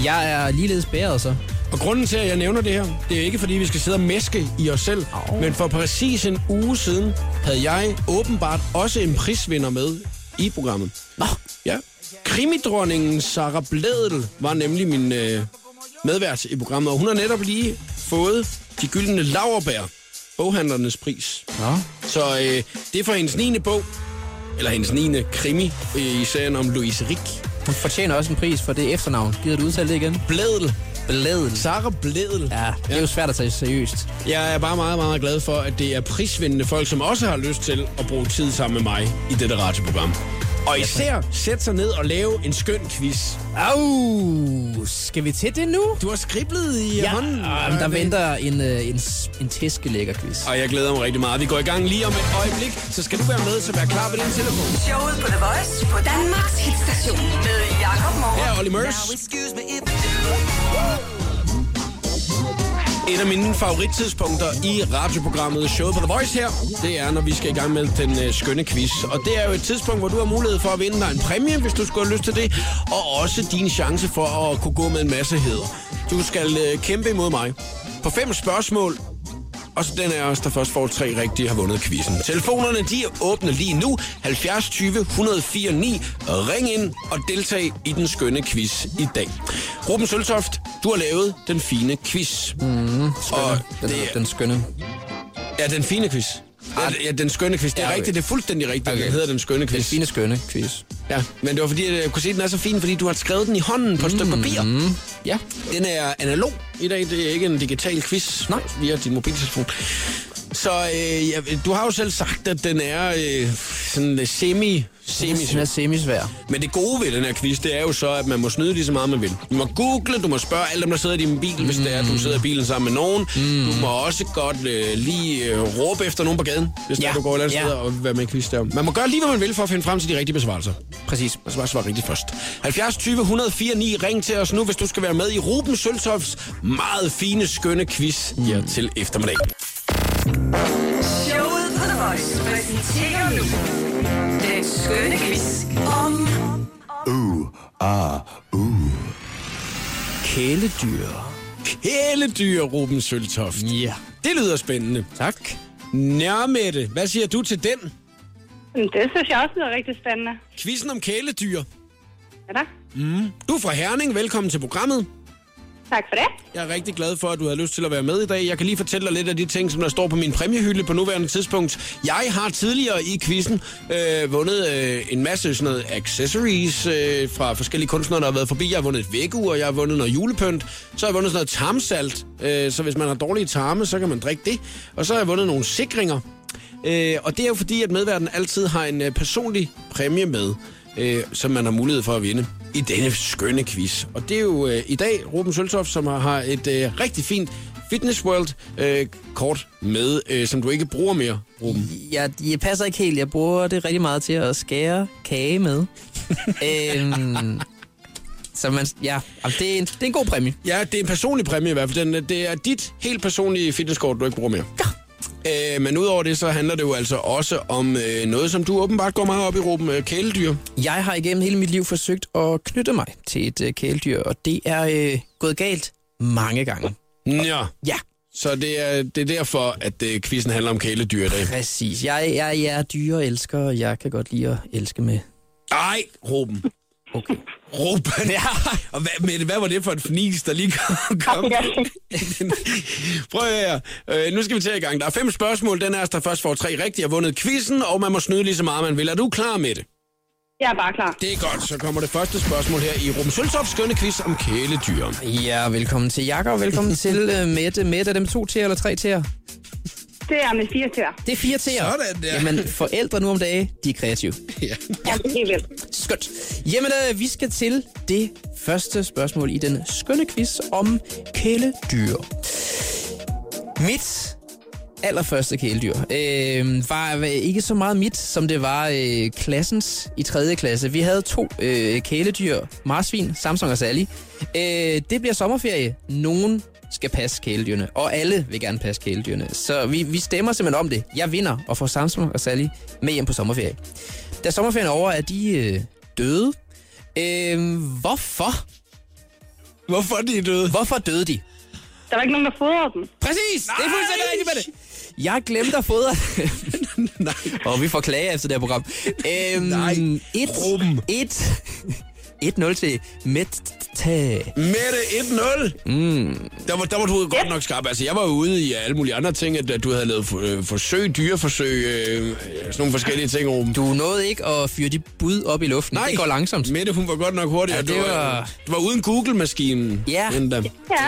B: Jeg er ligeledes bæret så.
A: Og grunden til, at jeg nævner det her, det er ikke fordi, vi skal sidde og mæske i os selv.
B: Au.
A: Men for præcis en uge siden havde jeg åbenbart også en prisvinder med i programmet.
B: Nå.
A: Ja. Krimidronningen Sara Blædel var nemlig min øh, medvært i programmet, og hun har netop lige fået de gyldne laverbær, boghandlernes pris.
B: Nå.
A: Så øh, det er for hendes 9. bog, eller hendes 9. krimi øh, i serien om Louise Rick.
B: Hun fortjener også en pris for det efternavn. Gider du udtale det igen?
A: Blædel.
B: Blædel.
A: Sara Blædel.
B: Ja, det er jo svært at tage seriøst.
A: Jeg er bare meget, meget glad for, at det er prisvindende folk, som også har lyst til at bruge tid sammen med mig i dette radioprogram. Og især sætte sig ned og lave en skøn quiz.
B: Au! Skal vi til det nu?
A: Du har skriblet i
B: Ja,
A: hånden.
B: Jamen, der venter en, øh, en, s- en tæskelækker quiz.
A: Og jeg glæder mig rigtig meget. Vi går i gang lige om et øjeblik, så skal du være med, så vær klar ved din telefon.
D: Showet på The Voice på Danmarks hitstation med Jakob
A: Her
D: Morup.
A: er Olly Murs. Et af mine favorittidspunkter i radioprogrammet Show på The Voice her, det er, når vi skal i gang med den øh, skønne quiz. Og det er jo et tidspunkt, hvor du har mulighed for at vinde dig en præmie, hvis du skulle have lyst til det, og også din chance for at kunne gå med en masse heder. Du skal øh, kæmpe imod mig på fem spørgsmål, og så den af os, der først får tre rigtige, har vundet quizzen. Telefonerne, de er åbne lige nu. 70 20 104 9. Ring ind og deltag i den skønne quiz i dag. Ruben Søltoft, du har lavet den fine quiz. Og
B: Mhm. Den,
A: det er-
B: den skønne.
A: Ja, den fine quiz. Ja, ja, den skønne quiz. Det er
B: Ja, okay.
A: rigtigt, det er fuldstændig rigtigt, okay.
B: Okay.
A: den hedder den skønne quiz.
B: Den fine skønne quiz.
A: Ja, men det var fordi, at jeg kunne se, at den er så fin, fordi du har skrevet den i hånden på et
B: Mm.
A: stykke papir.
B: Ja.
A: Den er analog i dag, det er ikke en digital quiz
B: Nej.
A: via din mobiltelefon. Så øh, ja, du har jo selv sagt, at den er øh, sådan øh, semi, semi
B: Den er semisvær.
A: Men det gode ved den her quiz, det er jo så, at man må snyde lige så meget, man vil. Du må google, du må spørge alle dem, der sidder i din bil, hvis det er, at
B: Mm.
A: du sidder i bilen sammen med nogen. Mm. Du må også godt øh, lige øh, råbe efter nogen på gaden, hvis ja. der,
B: Ja.
A: er, du går et eller andet
B: Ja.
A: sted og hvad med en quiz der. Man må gøre lige, hvad man vil for at finde frem til de rigtige besvarelser.
B: Præcis.
A: Og så bare svare rigtigt først. 70 20 104 9. Ring til os nu, hvis du skal være med i Ruben Søltofs meget fine, skønne quiz her til eftermiddag.
D: Showet på The Voice præsenterer nu den skønne quiz om...
B: Kæledyr.
A: Kæledyr, Ruben Søltoft.
B: Ja.
A: Det lyder spændende.
B: Tak.
A: Nærmette, hvad siger du til den?
G: Mm, Det synes jeg også lyder rigtig spændende.
A: Quizzen om kæledyr.
G: Ja da.
A: Du er fra Herning, velkommen til programmet.
G: Tak for det.
A: Jeg er rigtig glad for, at du har lyst til at være med i dag. Jeg kan lige fortælle dig lidt af de ting, som der står på min præmiehylde på nuværende tidspunkt. Jeg har tidligere i quizzen øh, vundet øh, en masse sådan noget accessories øh, fra forskellige kunstnere, der har været forbi. Jeg har vundet et vækkeur, jeg har vundet noget julepynt. Så har jeg vundet sådan noget tarmsalt, øh, så hvis man har dårlige tarme, så kan man drikke det. Og så har jeg vundet nogle sikringer. Øh, og det er jo fordi, at medverden altid har en øh, personlig præmie med, øh, som man har mulighed for at vinde i denne skønne quiz. Og det er jo øh, i dag Ruben Søltoft, som har, har et øh, rigtig fint Fitness World-kort med, øh, som du ikke bruger mere, Ruben.
B: Jeg, jeg passer ikke helt. Jeg bruger det rigtig meget til at skære kage med. øhm, så man, ja, Jamen, det, er en, det er en god præmie.
A: Ja, det er en personlig præmie i hvert fald. Den, øh, det er dit helt personlige fitnesskort, du ikke bruger mere. Ja. Øh, men udover det, så handler det jo altså også om øh, noget, som du åbenbart går meget op i, Ruben. Øh, kæledyr.
B: Jeg har igennem hele mit liv forsøgt at knytte mig til et øh, kæledyr, og det er øh, gået galt mange gange.
A: Ja.
B: Ja,
A: Så det er, det er derfor, at øh, quizzen handler om kæledyr i dag.
B: præcis. Jeg, jeg, jeg er dyreelsker, og jeg kan godt lide at elske med.
A: Nej, Ruben.
B: Okay.
A: Ruben. Ja. Og hvad, Mette, hvad var det for en fnis, der lige kom? kom? Prøv at høre. her. Øh, nu skal vi til i gang. Der er fem spørgsmål. Den er der først får tre rigtige har vundet quizzen, og man må snyde lige så meget, man vil. Er du klar med det?
G: Jeg er bare klar.
A: Det er godt. Så kommer det første spørgsmål her i Ruben Sølsofs skønne quiz om kæledyr.
B: Ja, velkommen til Jakob, og velkommen til øh, Mette. Mette, er dem to til eller tre til
G: Det er med fire tæer.
B: Det er fire til
A: Sådan der.
B: Jamen, forældre nu om dage, de er kreative.
G: Ja, helt vildt.
B: Skønt. Jamen, øh, vi skal til det første spørgsmål i den skønne quiz om kæledyr. Mit allerførste kæledyr øh, var øh, ikke så meget mit, som det var øh, klassens i 3. klasse. Vi havde to øh, kæledyr, marsvin, Samsung og Sally. Øh, det bliver sommerferie. Nogen skal passe kæledyrene, og alle vil gerne passe kæledyrene. Så vi, vi stemmer simpelthen om det. Jeg vinder og får Samsung og Sally med hjem på sommerferie. Da sommerferien er over, er de øh, døde. Øh, hvorfor?
A: Hvorfor er de døde?
B: Hvorfor døde de?
G: Der var ikke nogen, der fodrede dem.
B: Præcis! Nej! Det er fuldstændig rigtigt med det. Jeg glemte at fodre.
A: Nej.
B: Og vi får klager efter det her program. Øhm,
A: Nej,
B: Et,
A: Ruben.
B: et, 1-0 til Mette.
A: Mette 1-0. Mm. Der, var, der var du godt nok skarp. Altså, jeg var jo ude i alle mulige andre ting, at, at du havde lavet for, øh, forsøg, dyreforsøg, øh, sådan nogle forskellige ting, Ruben.
B: Du nåede ikke at fyre dit bud op i luften. Det går langsomt.
A: Mette, hun var godt nok hurtig.
B: Ja,
A: Ja,
B: det
A: du, var...
B: var-
A: du var uden Google-maskinen.
B: Ja.
A: Endda.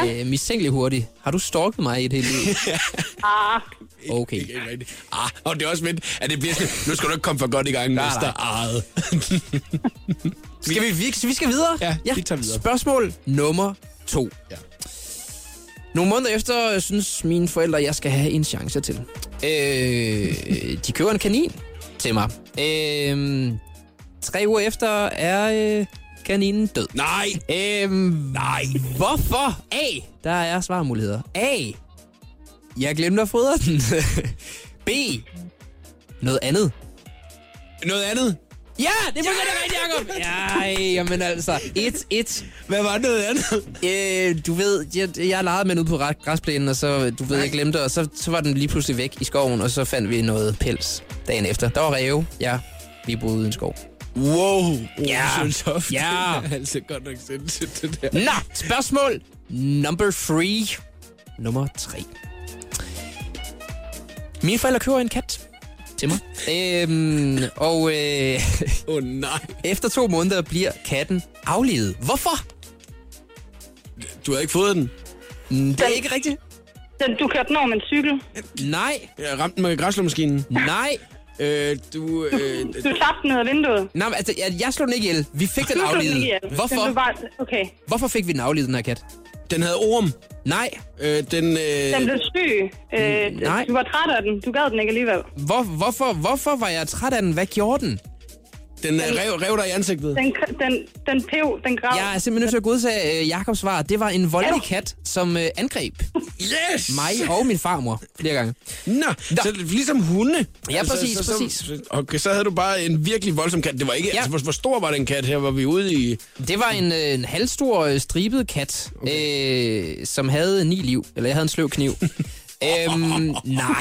G: Ja.
B: Øh, mistænkelig hurtigt. Har du stalket mig i et helt liv?
G: Ah,
B: Okay.
A: Ikke rigtigt. Ah, og det er også vendt, at det bliver sådan, nu skal du ikke komme for godt i gang,
B: Nej,
A: mester
B: nej.
A: Arret.
B: Skal vi, vi, vi skal videre?
A: Ja, vi tager videre.
B: Spørgsmål nummer to.
A: Ja.
B: Ja. Nogle måneder efter øh, synes mine forældre, at jeg skal have en chance til. Øh, de køber en kanin til mig. Øh, tre uger efter er øh, kaninen død.
A: Nej,
B: Øh, Nej. Hvorfor? A. Der er svarmuligheder. A. Jeg glemte at fodre den. B. Noget andet.
A: noget andet.
B: Ja, det var det rigtigt, Jacob. Ja, jamen altså. 1-1.
A: Hvad var noget andet?
B: Øh, du ved, jeg, jeg legede med den ude på ra- græsplænen, og så, du ved, jeg glemte, og så, så var den lige pludselig væk i skoven, og så fandt vi noget pels dagen efter. Der var ræve, ja, vi boede uden skov.
A: Wow, Oh,
B: Ja.
A: Rosentoft.
B: Ja.
A: Det er altså godt nok sindssygt, det der.
B: Nå, spørgsmål number three. Nummer tre. Mine forældre køber en kat til mig. Øhm, og øh,
A: Åh, oh, nej.
B: efter to måneder bliver katten aflivet. Hvorfor?
A: Du havde ikke fået den.
B: Det er ikke rigtigt.
G: Den, du kørte den over med en cykel.
B: Nej,
A: Jeg ramte den med græslåmaskinen.
B: nej.
A: Øh, du... Øh,
G: Du tabte den ud af vinduet.
B: Nej, men altså, jeg, jeg slog den ikke ihjel. Vi fik den
G: Du slog den
B: aflivet.
G: ihjel. Den
B: Hvorfor?
G: blev bare... Okay.
B: Hvorfor fik vi den aflivet, den her kat?
A: den havde orm.
B: Nej.
A: Øh, den...
G: Den
A: Øh,
G: blev syg. Øh,
B: mm, nej.
G: Du var træt af den. Du gad den ikke alligevel.
B: Hvor, hvorfor, hvorfor var jeg træt af den? Hvad gjorde den?
A: den øh, rev, rev dig i ansigtet.
G: Den, den, den pev, den grav.
B: Jeg er simpelthen nødt til at godsage øh, Jakobs svar. Det var en voldelig kat, som øh, angreb
A: Yes!
B: mig og min farmor flere gange.
A: Nå, så ligesom hunde.
B: Ja, præcis, præcis.
A: Så, okay, så havde du bare en virkelig voldsom kat. Det var ikke...
B: Ja.
A: Ja. Altså, hvor, hvor stor var den kat her, var vi ude i?
B: Det var en, øh, en halvstor øh, stribet kat, okay. øh, som havde ni liv. Eller jeg havde en sløv kniv. øhm, nej,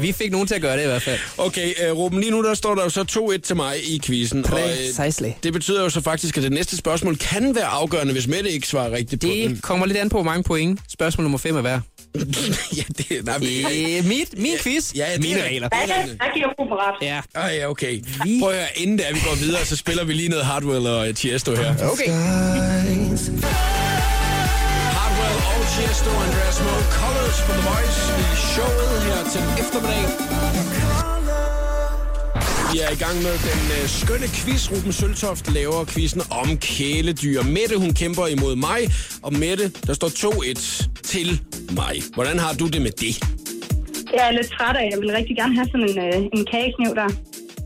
B: vi fik nogen til at gøre det i hvert fald.
A: Okay, øh, Ruben, lige nu der står der jo så 2-1 til mig i quizzen. Og, øh,
B: Precisely.
A: det betyder jo så faktisk, at det næste spørgsmål kan være afgørende, hvis Mette ikke svarer rigtigt på den.
B: Det kommer lidt an på, hvor mange point spørgsmål nummer 5 er værd.
A: ja, det, nej, men,
B: Øh, mit, min quiz,
A: ja, det
B: mine
A: er-
B: regler.
G: Ja, der giver Ruben ret.
B: Ja.
A: Ej, okay. Prøv at høre, inden der vi går videre, så spiller vi lige noget Hardwell og Tiesto her.
B: Okay.
A: Hardwell og Tiesto, Andreas Mo, Colors for The Voice i showet her til eftermiddag. Vi er i gang med den øh, skønne quiz. Ruben Søltoft laver quizzen om kæledyr. Mette, hun kæmper imod mig, og Mette, der står 2-1 til mig. Hvordan har du det med det?
G: Jeg er lidt træt af, jeg vil rigtig gerne have sådan en, øh, en kagekniv der.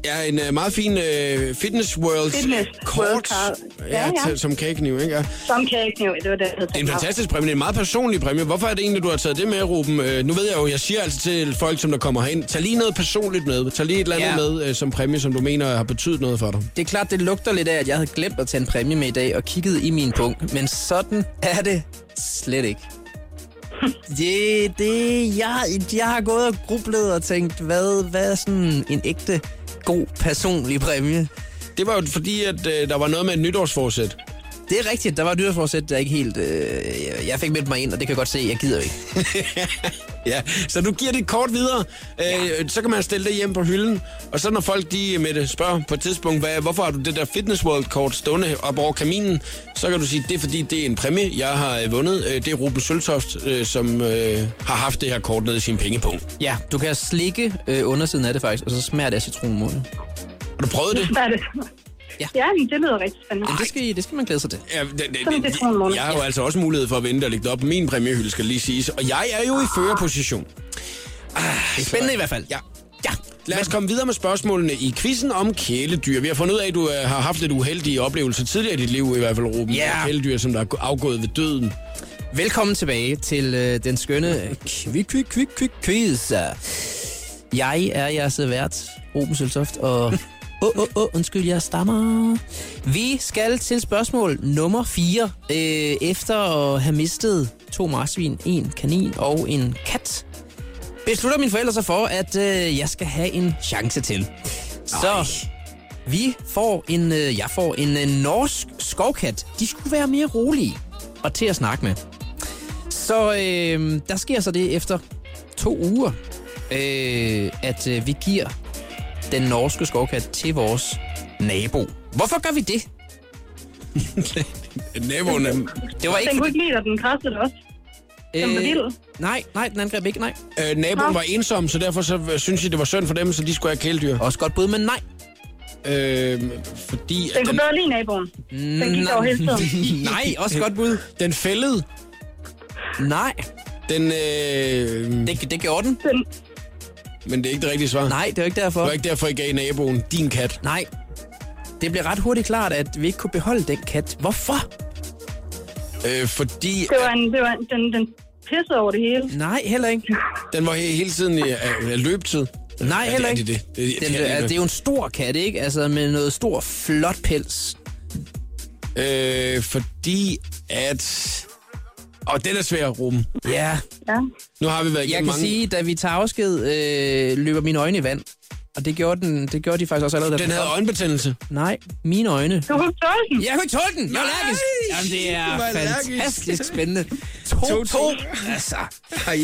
A: Ja, en øh, meget fin øh, Fitness World
G: Fitness World
A: kort,
G: card.
A: ja,
G: Ja,
A: ja.
G: ja.
A: Til, som kagekniv, ikke? Ja. Det
G: Som kagekniv, det var det, jeg havde
A: er en fantastisk præmie, det er en meget personlig præmie. Hvorfor er det egentlig, du har taget det med, Ruben? Øh, nu ved jeg jo, jeg siger altid til folk, som der kommer herind, tag lige noget personligt med. Tag lige et eller andet
B: Ja.
A: med øh, som præmie, som du mener har betydet noget for dig.
B: Det er klart, det lugter lidt af, at jeg havde glemt at tage en præmie med i dag og kiggede i min punkt, men sådan er det slet ikke. Det, det, jeg, jeg har gået og grublet og tænkt, hvad, hvad er sådan en ægte god personlig præmie?
A: Det var jo fordi, at øh, der var noget med et nytårsforsæt.
B: Det er rigtigt, der var et nytårsforsæt, der ikke helt... Øh, jeg fik meldt mig ind, og det kan jeg godt se, jeg gider ikke.
A: Ja, så du giver det kort videre. Øh, Så kan man stille det hjem på hylden. Og så når folk de med det spørger på et tidspunkt, hvad, hvorfor har du det der Fitness World kort stående op over kaminen, så kan du sige, det er fordi, det er en præmie, jeg har øh, vundet. Øh, Det er Ruben Søltoft, øh, som øh, har haft det her kort nede i sin pengepunkt.
B: Ja, du kan slikke øh, undersiden af det faktisk, og så smager det af citronmåne.
A: Har du prøvet det?
G: Hvad er det?
B: Ja.
G: Ja. ja, men det lyder rigtig spændende.
B: Men det skal, I- det skal man glæde sig til.
A: Ja, det, det,
G: Sådan, det tror jeg, Mona.
A: jeg har jo altså også mulighed for at vente og lægge det op på min præmiehylde, skal lige siges. Og jeg er jo i førerposition.
B: Det er spændende i hvert fald.
A: Ja. ja. Lad os komme videre med spørgsmålene i quizzen om kæledyr. Vi har fundet ud af, at du øh, har haft lidt uheldige oplevelser tidligere i dit liv, i hvert fald, Ruben.
B: Ja.
A: Med Kæledyr, som der er gå- afgået ved døden.
B: Velkommen tilbage til øh, den skønne kvik, kvik, kvik, kvik, quiz. Jeg er jeres vært, Ruben Søltoft, og... Åh, åh, åh, undskyld, jeg stammer. Vi skal til spørgsmål nummer 4. Øh, efter at have mistet to marsvin, en kanin og en kat, beslutter mine forældre sig for, at øh, jeg skal have en chance til. Så vi får en, øh, jeg får en øh, norsk skovkat. De skulle være mere rolige og til at snakke med. Så øh, der sker så det efter to uger, øh, at øh, vi giver den norske skovkat til vores nabo. Hvorfor gør vi det?
A: Naboen er...
B: Det var
G: Den
B: ikke...
G: kunne ikke lide dig, den kræftede det også. den
B: Øh,
G: var vild.
B: nej, nej, den angreb ikke, nej.
A: Øh, naboen var ensom, så derfor så øh, synes jeg, det var synd for dem, så de skulle have kæledyr.
B: Også godt bud, men nej.
A: Øh, fordi
G: Den
A: at den,
G: kunne bedre lide naboen. Den gik over hele tiden.
B: nej, også godt bud.
A: den fældede,
B: Nej,
A: den... Øh,
B: det, det gjorde den.
G: Den,
A: men det er ikke det rigtige svar.
B: Nej, det var ikke derfor.
A: Det var ikke derfor, I gav naboen din kat.
B: Nej. Det blev ret hurtigt klart, at vi ikke kunne beholde den kat. Hvorfor?
A: Øh, fordi
G: det var en, det var en, den, den pissede over det hele.
B: Nej, heller ikke.
A: den var he- hele tiden i øh, løbetid.
B: Nej,
A: Ja, det
B: heller
A: er
B: ikke.
A: de det. Det er de
B: Den,
A: heller ikke.
B: altså, det er jo en stor kat, ikke? Altså med noget stor, flot pels.
A: Øh, fordi at... Og den er svær, Ruben.
B: Ja,
G: Ja.
A: Nu har vi været
B: jeg
A: igennem
B: kan
A: mange...
B: sige, da vi tager afsked, øh, løber mine øjne i vand. Og det gjorde, den, det gjorde de faktisk også allerede. da
A: Den havde
B: kom.
A: øjenbetændelse.
B: Nej, mine øjne.
G: Du kunne ikke tåle den.
B: Jeg kunne ikke tåle den. Jeg er
A: Nej!
B: allergisk. Jamen, det er
A: Du var allergisk.
B: fantastisk spændende. To, to. Altså,
A: Ej.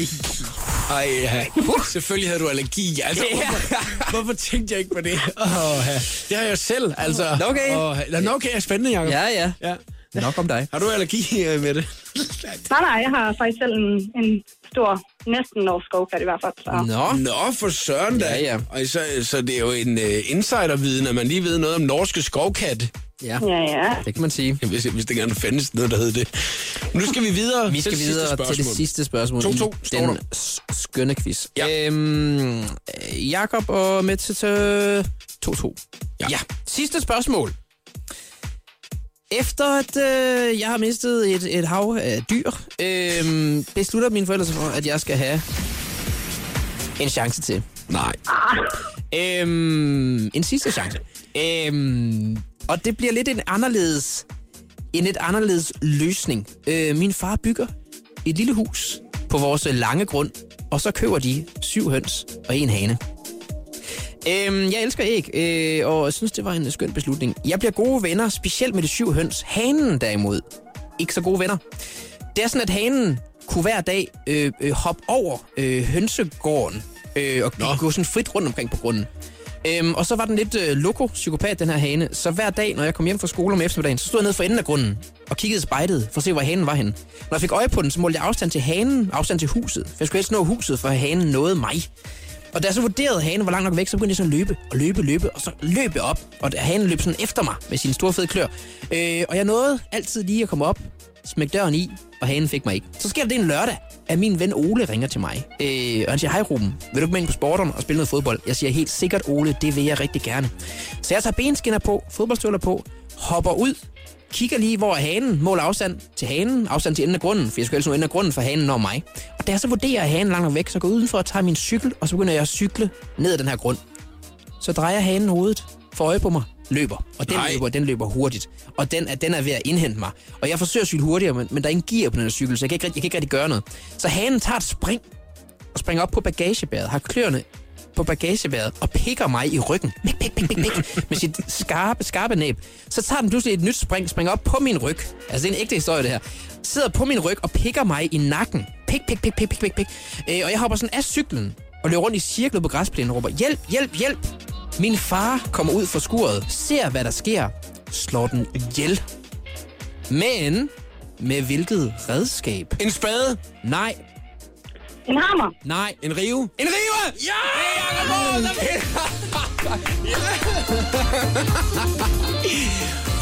A: Ej, ja. Selvfølgelig havde du allergi. Altså,
B: Ja.
A: hvorfor, hvorfor tænkte jeg ikke på det? Oh, ja. Det har jeg selv, altså.
B: Nå, okay.
A: Oh, okay, spændende, Jacob.
B: ja, ja.
A: ja.
B: Nok om dig.
A: Har du allergi øh, med det?
G: Nej, nej, jeg har faktisk selv en, en stor, næsten norsk skovkat i hvert fald. Så.
B: Nå.
A: Nå, for søren da.
B: Ja, ja.
A: Og så, så det er jo en uh, insiderviden, at man lige ved noget om norske skovkatte.
B: Ja,
G: Ja, ja.
B: det kan man sige.
A: Hvis, hvis det gerne findes noget, der hed det. Nu skal vi videre
B: Vi skal
A: til
B: videre
A: sidste
B: til det
A: spørgsmål.
B: sidste spørgsmål.
A: To,
B: i
A: to, står
B: den
A: der.
B: s- skønne quiz.
A: Ja.
B: Øhm, Jakob og Mette til 2-2.
A: Ja.
B: Sidste spørgsmål. Efter at øh, jeg har mistet et, et hav af dyr, øh, beslutter mine forældre sig for, at jeg skal have en chance til.
A: Nej.
B: Øhm, en sidste chance. Øhm, og det bliver lidt en anderledes, en lidt anderledes løsning. Øh, min far bygger et lille hus på vores øh, lange grund, og så køber de syv høns og en hane. Øhm, jeg elsker æg, øh, og jeg synes, det var en skøn beslutning. Jeg bliver gode venner, specielt med de syv høns. Hanen derimod, ikke så gode venner. Det er sådan, at hanen kunne hver dag øh, øh, hoppe over øh, hønsegården øh, og Nå. gå sådan frit rundt omkring på grunden. Øhm, og så var den lidt øh, loko psykopat den her hane. Så hver dag, når jeg kom hjem fra skole om eftermiddagen, så stod jeg nede for enden af grunden og kiggede i spejlet for at se, hvor hanen var henne. Når jeg fik øje på den, så målte jeg afstand til hanen, afstand til huset. For jeg skulle helst nå huset, for hanen nåede mig. Og da jeg så vurderede hanen var langt nok væk, så begyndte jeg sådan at løbe og løbe og løbe, og så løb jeg op, og da hanen løb sådan efter mig med sine store fede klør. Øh, og jeg nåede altid lige at komme op, smække døren i, og hanen fik mig ikke. Så sker der det en lørdag, at min ven Ole ringer til mig. Øh, og han siger, hej Ruben, vil du ikke med ind på sporteren og spille noget fodbold? Jeg siger helt sikkert, Ole, det vil jeg rigtig gerne. Så jeg tager benskinner på, fodboldstøvler på, hopper ud, kigger lige, hvor er hanen, måler afstand til hanen, afstand til enden af grunden, for jeg skulle ellers nå enden af grunden, for hanen når mig. Og da jeg så vurderer, at hanen langt nok væk, så går jeg udenfor og tager min cykel, og så begynder jeg at cykle ned ad den her grund. Så drejer hanen hovedet, får øje på mig, løber. Og den
A: Nej.
B: løber, den løber hurtigt. Og den, er, den er ved at indhente mig. Og jeg forsøger at cykle hurtigere, men, men der er ingen gear på den her cykel, så jeg kan, ikke, rigtig- jeg kan ikke rigtig gøre noget. Så hanen tager et spring og springer op på bagagebæret, har kløerne på bagagebæret og pikker mig i ryggen. Pik, pik, pik, pik, pik, med sit skarpe, skarpe næb. Så tager den pludselig et nyt spring, springer op på min ryg. Altså, det er en ægte historie, det her. Sidder på min ryg og pikker mig i nakken. Pik, pik, pik, pik, pik, pik, pik. Øh, og jeg hopper sådan af cyklen og løber rundt i cirklet på græsplænen og råber, hjælp, hjælp, hjælp. Min far kommer ud fra skuret, ser hvad der sker, slår den ihjel. Men med hvilket redskab?
A: En spade.
B: Nej,
G: En hammer.
B: nej,
A: En rive.
B: en rive! Ja!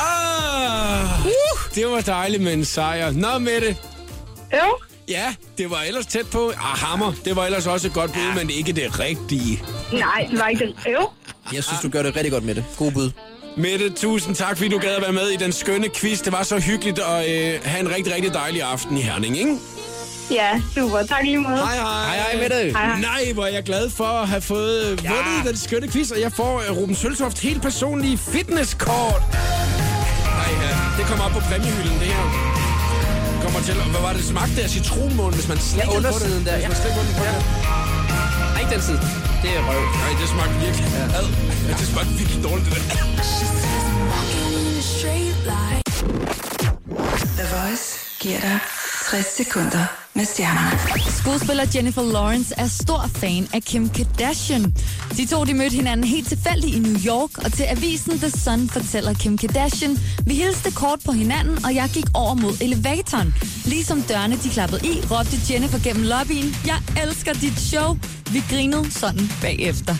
A: Ah, det var dejligt med en sejr. Nå, Mette.
G: Jo,
A: Ja, det var ellers tæt på. Ah, hammer. Det var ellers også et godt bud, men ikke det rigtige.
G: nej, det var ikke det. Jo,
B: Jeg synes, du gør det rigtig godt med det. God bud.
A: Mette, tusind tak, fordi du gad at være med i den skønne quiz. Det var så hyggeligt at øh, have en rigtig, rigtig dejlig aften i Herning, ikke?
G: ja, super. Tak i lige måde.
A: Hej, hej.
B: Hej, hej, Mette.
G: Hej, hej.
A: Nej, hvor er jeg glad for at have fået øh, vundet den skønne quiz, og jeg får øh, Ruben Søltoft helt personlige fitnesskort. Ej, ja. Det kommer op på præmiehylden, det her. Kommer til, hvad var det, smagte af citronmåne, hvis man slikker på det?
B: undersiden der,
A: Hvis
B: ja.
A: man slikker på den, på ja.
B: Nej, ikke den side. Det er røv.
A: Nej, det smagte virkelig ja. ad. Ja, det smagte virkelig dårligt, det der.
D: The Voice giver dig 60 sekunder med stjernerne.
C: Skuespiller Jennifer Lawrence er stor fan af Kim Kardashian. De to de mødte hinanden helt tilfældigt i New York, og til avisen The Sun fortæller Kim Kardashian, vi hilste kort på hinanden, og jeg gik over mod elevatoren. Ligesom dørene de klappede i, råbte Jennifer gennem lobbyen, jeg elsker dit show. Vi grinede sådan bagefter.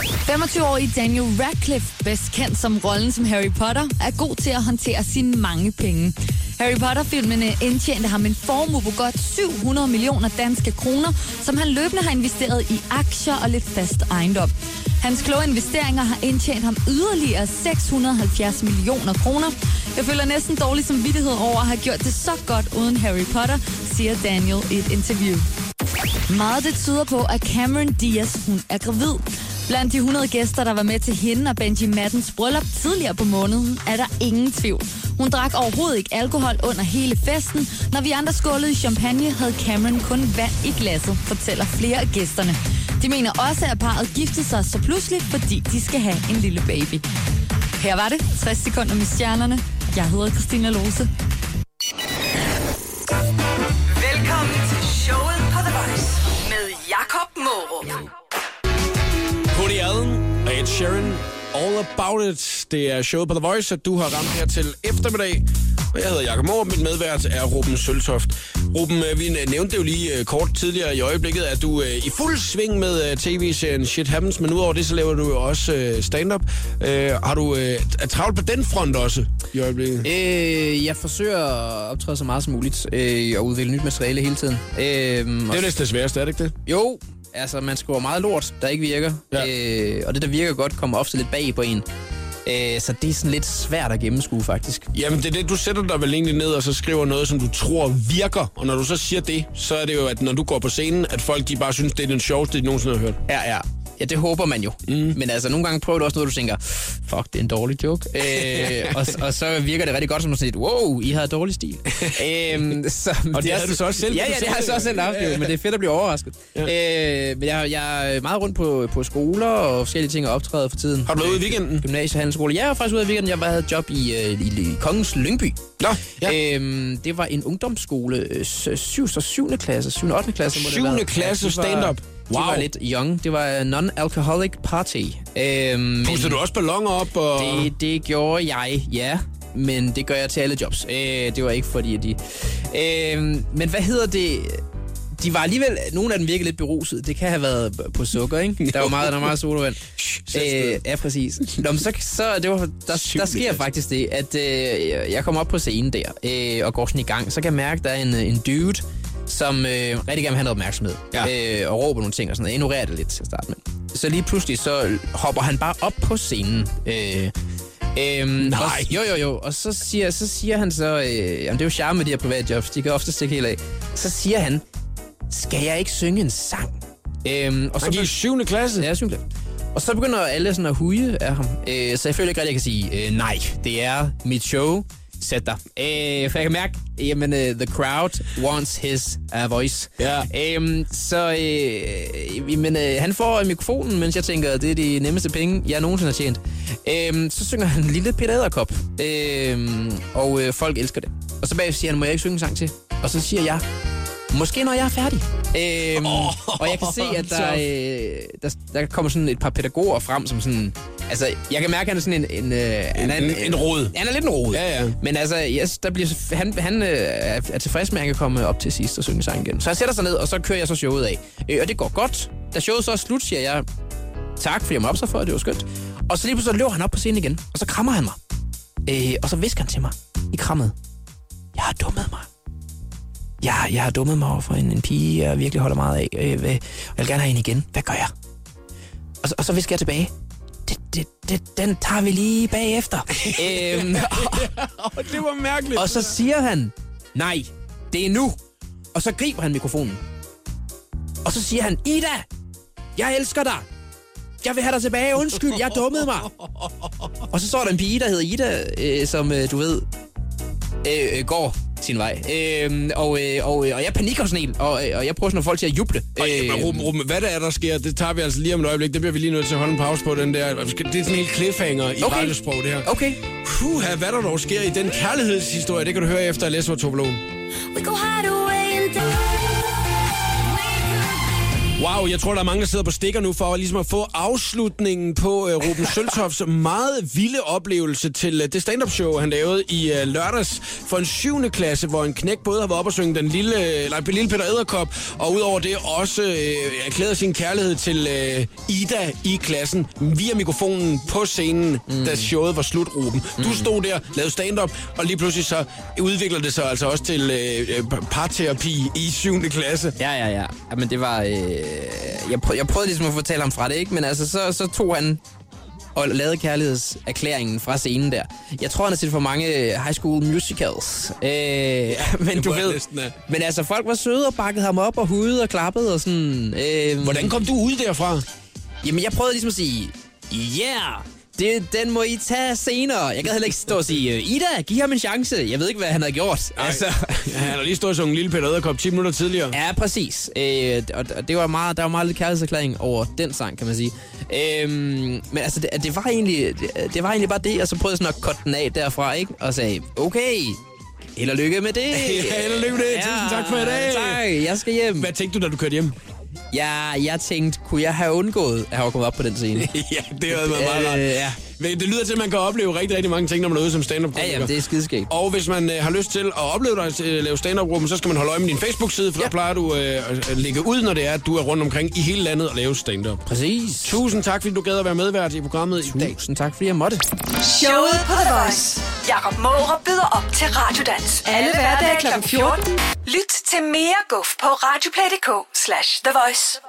C: 25-årige Daniel Radcliffe, bedst kendt som rollen som Harry Potter, er god til at håndtere sine mange penge. Harry Potter-filmene indtjente ham en formue på godt 700 millioner danske kroner, som han løbende har investeret i aktier og lidt fast ejendom. Hans kloge investeringer har indtjent ham yderligere 670 millioner kroner. Jeg føler næsten dårlig samvittighed over at have gjort det så godt uden Harry Potter, siger Daniel i et interview. Meget det tyder på, at Cameron Diaz hun er gravid. Blandt de 100 gæster, der var med til hende og Benji Maddens bryllup tidligere på måneden, er der ingen tvivl. Hun drak overhovedet ikke alkohol under hele festen. Når vi andre skålede i champagne, havde Cameron kun vand i glasset, fortæller flere af gæsterne. De mener også, at parret giftede sig så pludselig, fordi de skal have en lille baby. Her var det 60 sekunder med stjernerne. Jeg hedder Christina Lose.
D: Velkommen til showet på The Voice med Jakob Morup.
A: Cody Allen og Ed Sheeran. All About It. Det er showet på The Voice, at du har ramt her til eftermiddag. Og jeg hedder Jakob Morup, mit medvært er Ruben Søltoft. Ruben, øh, vi nævnte det jo lige øh, kort tidligere i øjeblikket, at du øh, i fuld sving med øh, tv-serien Shit Happens, men udover det, så laver du jo også øh, stand-up. Øh, Har du øh, er travlt på den front også i øjeblikket?
B: Øh, jeg forsøger at optræde så meget som muligt øh, og udvikle nyt materiale hele tiden. Øh,
A: Det er jo næsten det sværeste, er det ikke det?
B: Jo, altså man skriver meget lort, der ikke virker.
A: Ja.
B: Øh, og det, der virker godt, kommer ofte lidt bag på en. Øh, så det er sådan lidt svært at gennemskue, faktisk.
A: Jamen, det er det, du sætter dig vel egentlig ned, og så skriver noget, som du tror virker. Og når du så siger det, så er det jo, at når du går på scenen, at folk de bare synes, det er den sjoveste, de nogensinde har hørt.
B: Ja, ja. Ja, det håber man jo. Mm. Men altså, nogle gange prøver du også noget, du tænker, fuck, det er en dårlig joke. Øh, og, og så virker det rigtig godt, som at sige, wow, I havde dårlig stil. øhm, så, og
A: det havde du så også selv.
B: Ja, ja, det har jeg så også selv haft, jo, men det er fedt at blive overrasket. Ja. Øh, men jeg, jeg er meget rundt på, på skoler og forskellige ting og optræder for tiden.
A: Har du været ude i weekenden?
B: Gymnasiehandelsskole. Jeg var faktisk ude i weekenden. Jeg havde et job i, øh, i, i Kongens Lyngby.
A: Nå, ja.
B: Øhm, det var en ungdomsskole, øh, 7. og 7. klasse, 7. og 8. klasse. må det have
A: Syvende
B: været.
A: klasse
B: Ja, de var-
A: stand-up.
B: De
A: Wow.
B: var lidt young. Det var øh, non-alcoholic party. Øhm, men
A: Puster du også ballonger op? Og...
B: det, det gjorde jeg, ja. Men det gør jeg til alle jobs. Øh, det var ikke fordi, at de... Øh, men hvad hedder det... De var alligevel... Nogle af dem virkede lidt berusede. Det kan have været på sukker, ikke? Der var meget, der var meget sodavand.
A: sæt
B: Øh, ja, præcis. Nå, men så, så det var, der, der
A: Syvende
B: sker
A: klasse.
B: faktisk det, at øh, jeg- jeg kommer op på scenen der øh, og går sådan i gang. Så kan jeg mærke, at der er en, øh, en dude, som øh, rigtig gerne vil have noget opmærksomhed.
A: Ja.
B: Øh, og råber nogle ting og sådan noget. Ignorerer det lidt til at starte med. Så lige pludselig, så hopper han bare op på scenen. Øh, Øhm, Nej. Og, jo, jo, jo. Og så siger, så siger han så... Øh, jamen, det er jo charme med de her private jobs. De kan ofte stikke helt af. Så siger han, skal jeg ikke synge en sang? Øhm, og så
A: Han gik i
B: be-
A: 7. klasse?
B: Ja, syvende klasse. Og så begynder alle sådan at huge af ham. Øh, så jeg føler ikke rigtig, at jeg kan sige, øh, nej, det er mit show. Sæt dig. Øh, for jeg kan mærke, jamen, øh, the crowd wants his uh, voice.
A: Ja.
B: Øhm, så øh, jamen, øh, han får mikrofonen, mens jeg tænker, det er de nemmeste penge, jeg nogensinde har tjent. Øhm, så synger han Lille Peter Edderkop, øhm, og øh, folk elsker det. Og så bagefter siger han, må jeg ikke synge en sang til? Og så siger jeg, Måske når jeg er færdig. Øhm, oh, og jeg kan se, at der, øh, der, der kommer sådan et par pædagoger frem, som sådan... Altså, jeg kan mærke, at han er sådan en... en, øh, han er
A: En- en rod.
B: Han er lidt en rod.
A: Ja, ja.
B: Men altså, yes, der bliver, han, han øh, er er tilfreds med, at han kan komme op til sidst og synge sang igen. Så jeg sætter sig ned, og så kører jeg så showet af. Øh, og det går godt. Da showet så er slut, siger jeg tak, fordi jeg måtte op sig for, det var skønt. Og så lige pludselig løber han op på scenen igen, og så krammer han mig. Øh, og så visker han til mig i krammet. Jeg har dummet mig. Jeg, jeg har dummet mig over for en, en pige, jeg virkelig holder meget af. Øh, hvad- jeg vil gerne have hende igen. Hvad gør jeg? Og, så- og så visker jeg tilbage. Det, det, det, den tager vi lige bagefter. øhm, og,
A: Åh, det var mærkeligt.
B: og så siger han, nej, det er nu. Og så griber han mikrofonen. Og så siger han, Ida, jeg elsker dig. Jeg vil have dig tilbage. Undskyld, jeg dummede mig. Og så står der en pige, der hedder Ida, øh, som øh, du ved, øh, øh, går sin vej. Øh, og, øh, og, øh, og jeg panikker sådan helt, og, øh, og jeg prøver sådan at få folk til at juble.
A: Og, øh, men Ruben, Ruben, hvad der er, der sker, det tager vi altså lige om et øjeblik. Det bliver vi lige nødt til at holde en pause på, den der. Det er sådan en helt cliffhanger i okay. Oh. radiosprog, det her.
B: Okay.
A: Puh, hvad der dog sker i den kærlighedshistorie, det kan du høre efter at læse vores tobelon.
E: We go hide away and die.
A: Wow, jeg tror, der er mange, der sidder på stikker nu for ligesom at få afslutningen på uh, Ruben Søltofs meget vilde oplevelse til uh, det stand-up show, han lavede i uh, lørdags for en 7. klasse, hvor en knæk både har været oppe og synge den lille, øh, eller, lille Peter Æderkop, og udover det også uh, erklærede sin kærlighed til uh, Ida i klassen via mikrofonen på scenen, mm. da showet var slut, Ruben.
B: Mm.
A: Du stod der, lavede stand-up, og lige pludselig så udvikler det sig altså også til uh, parterapi i 7. klasse.
B: Ja, ja, ja. Jamen, det var... Øh, jeg, prøvede, jeg prøvede ligesom at fortælle ham fra det, ikke? Men altså, så, så tog han og lavede kærlighedserklæringen fra scenen der. Jeg tror, han har set for mange øh, high school musicals. Øh, men du
A: må jeg
B: ved...
A: næsten øh, have.
B: Men altså, folk var søde og bakkede ham op og hudede og klappede og sådan... Øh,
A: Hvordan kom du ud derfra?
B: Jamen, jeg prøvede ligesom at sige, yeah, det, den må I tage senere. Jeg gad heller ikke stå og sige, øh, Ida, giv ham en chance. Jeg ved ikke, hvad han havde gjort.
A: Ej. Altså, han har lige stået og sunget Lille Peter Æderkop 10 minutter tidligere.
B: Ja, præcis. Øh, og og det var meget, der var meget lidt kærlighedserklæring over den sang, kan man sige. Øhm, men altså, det, det, var egentlig, det, det var egentlig bare det, og så prøvede jeg sådan at cutte den af derfra, ikke? Og sagde, okay, held og lykke med det.
A: Ja, held og lykke med det. Tusind tak for i dag.
B: Tak, jeg skal hjem.
A: Hvad tænkte du, da du kørte hjem?
B: Ja, jeg tænkte, kunne jeg have undgået at have kommet op på den scene?
A: ja, det havde været meget
B: Øh,
A: rart.
B: ja.
A: Men det lyder til, at man kan opleve rigtig, rigtig mange ting, når man er ude som stand-up
B: Ja, ja, det er skideskægt.
A: Og hvis man øh, har lyst til at opleve dig øh, lave stand-up-gruppen, så skal man holde øje med din Facebook-side, for ja. der plejer du øh, at at lægge ud, når det er, at du er rundt omkring i hele landet og lave stand-up.
B: Præcis.
A: Tusind tak, fordi du gad at være medvært i programmet i dag.
B: Tusind tak, fordi jeg måtte.
D: Showet på The Voice. Jakob Måre byder op til Radiodans. Alle hverdage kl. 14. Lyt til mere guf på radioplay.dk slash The Voice.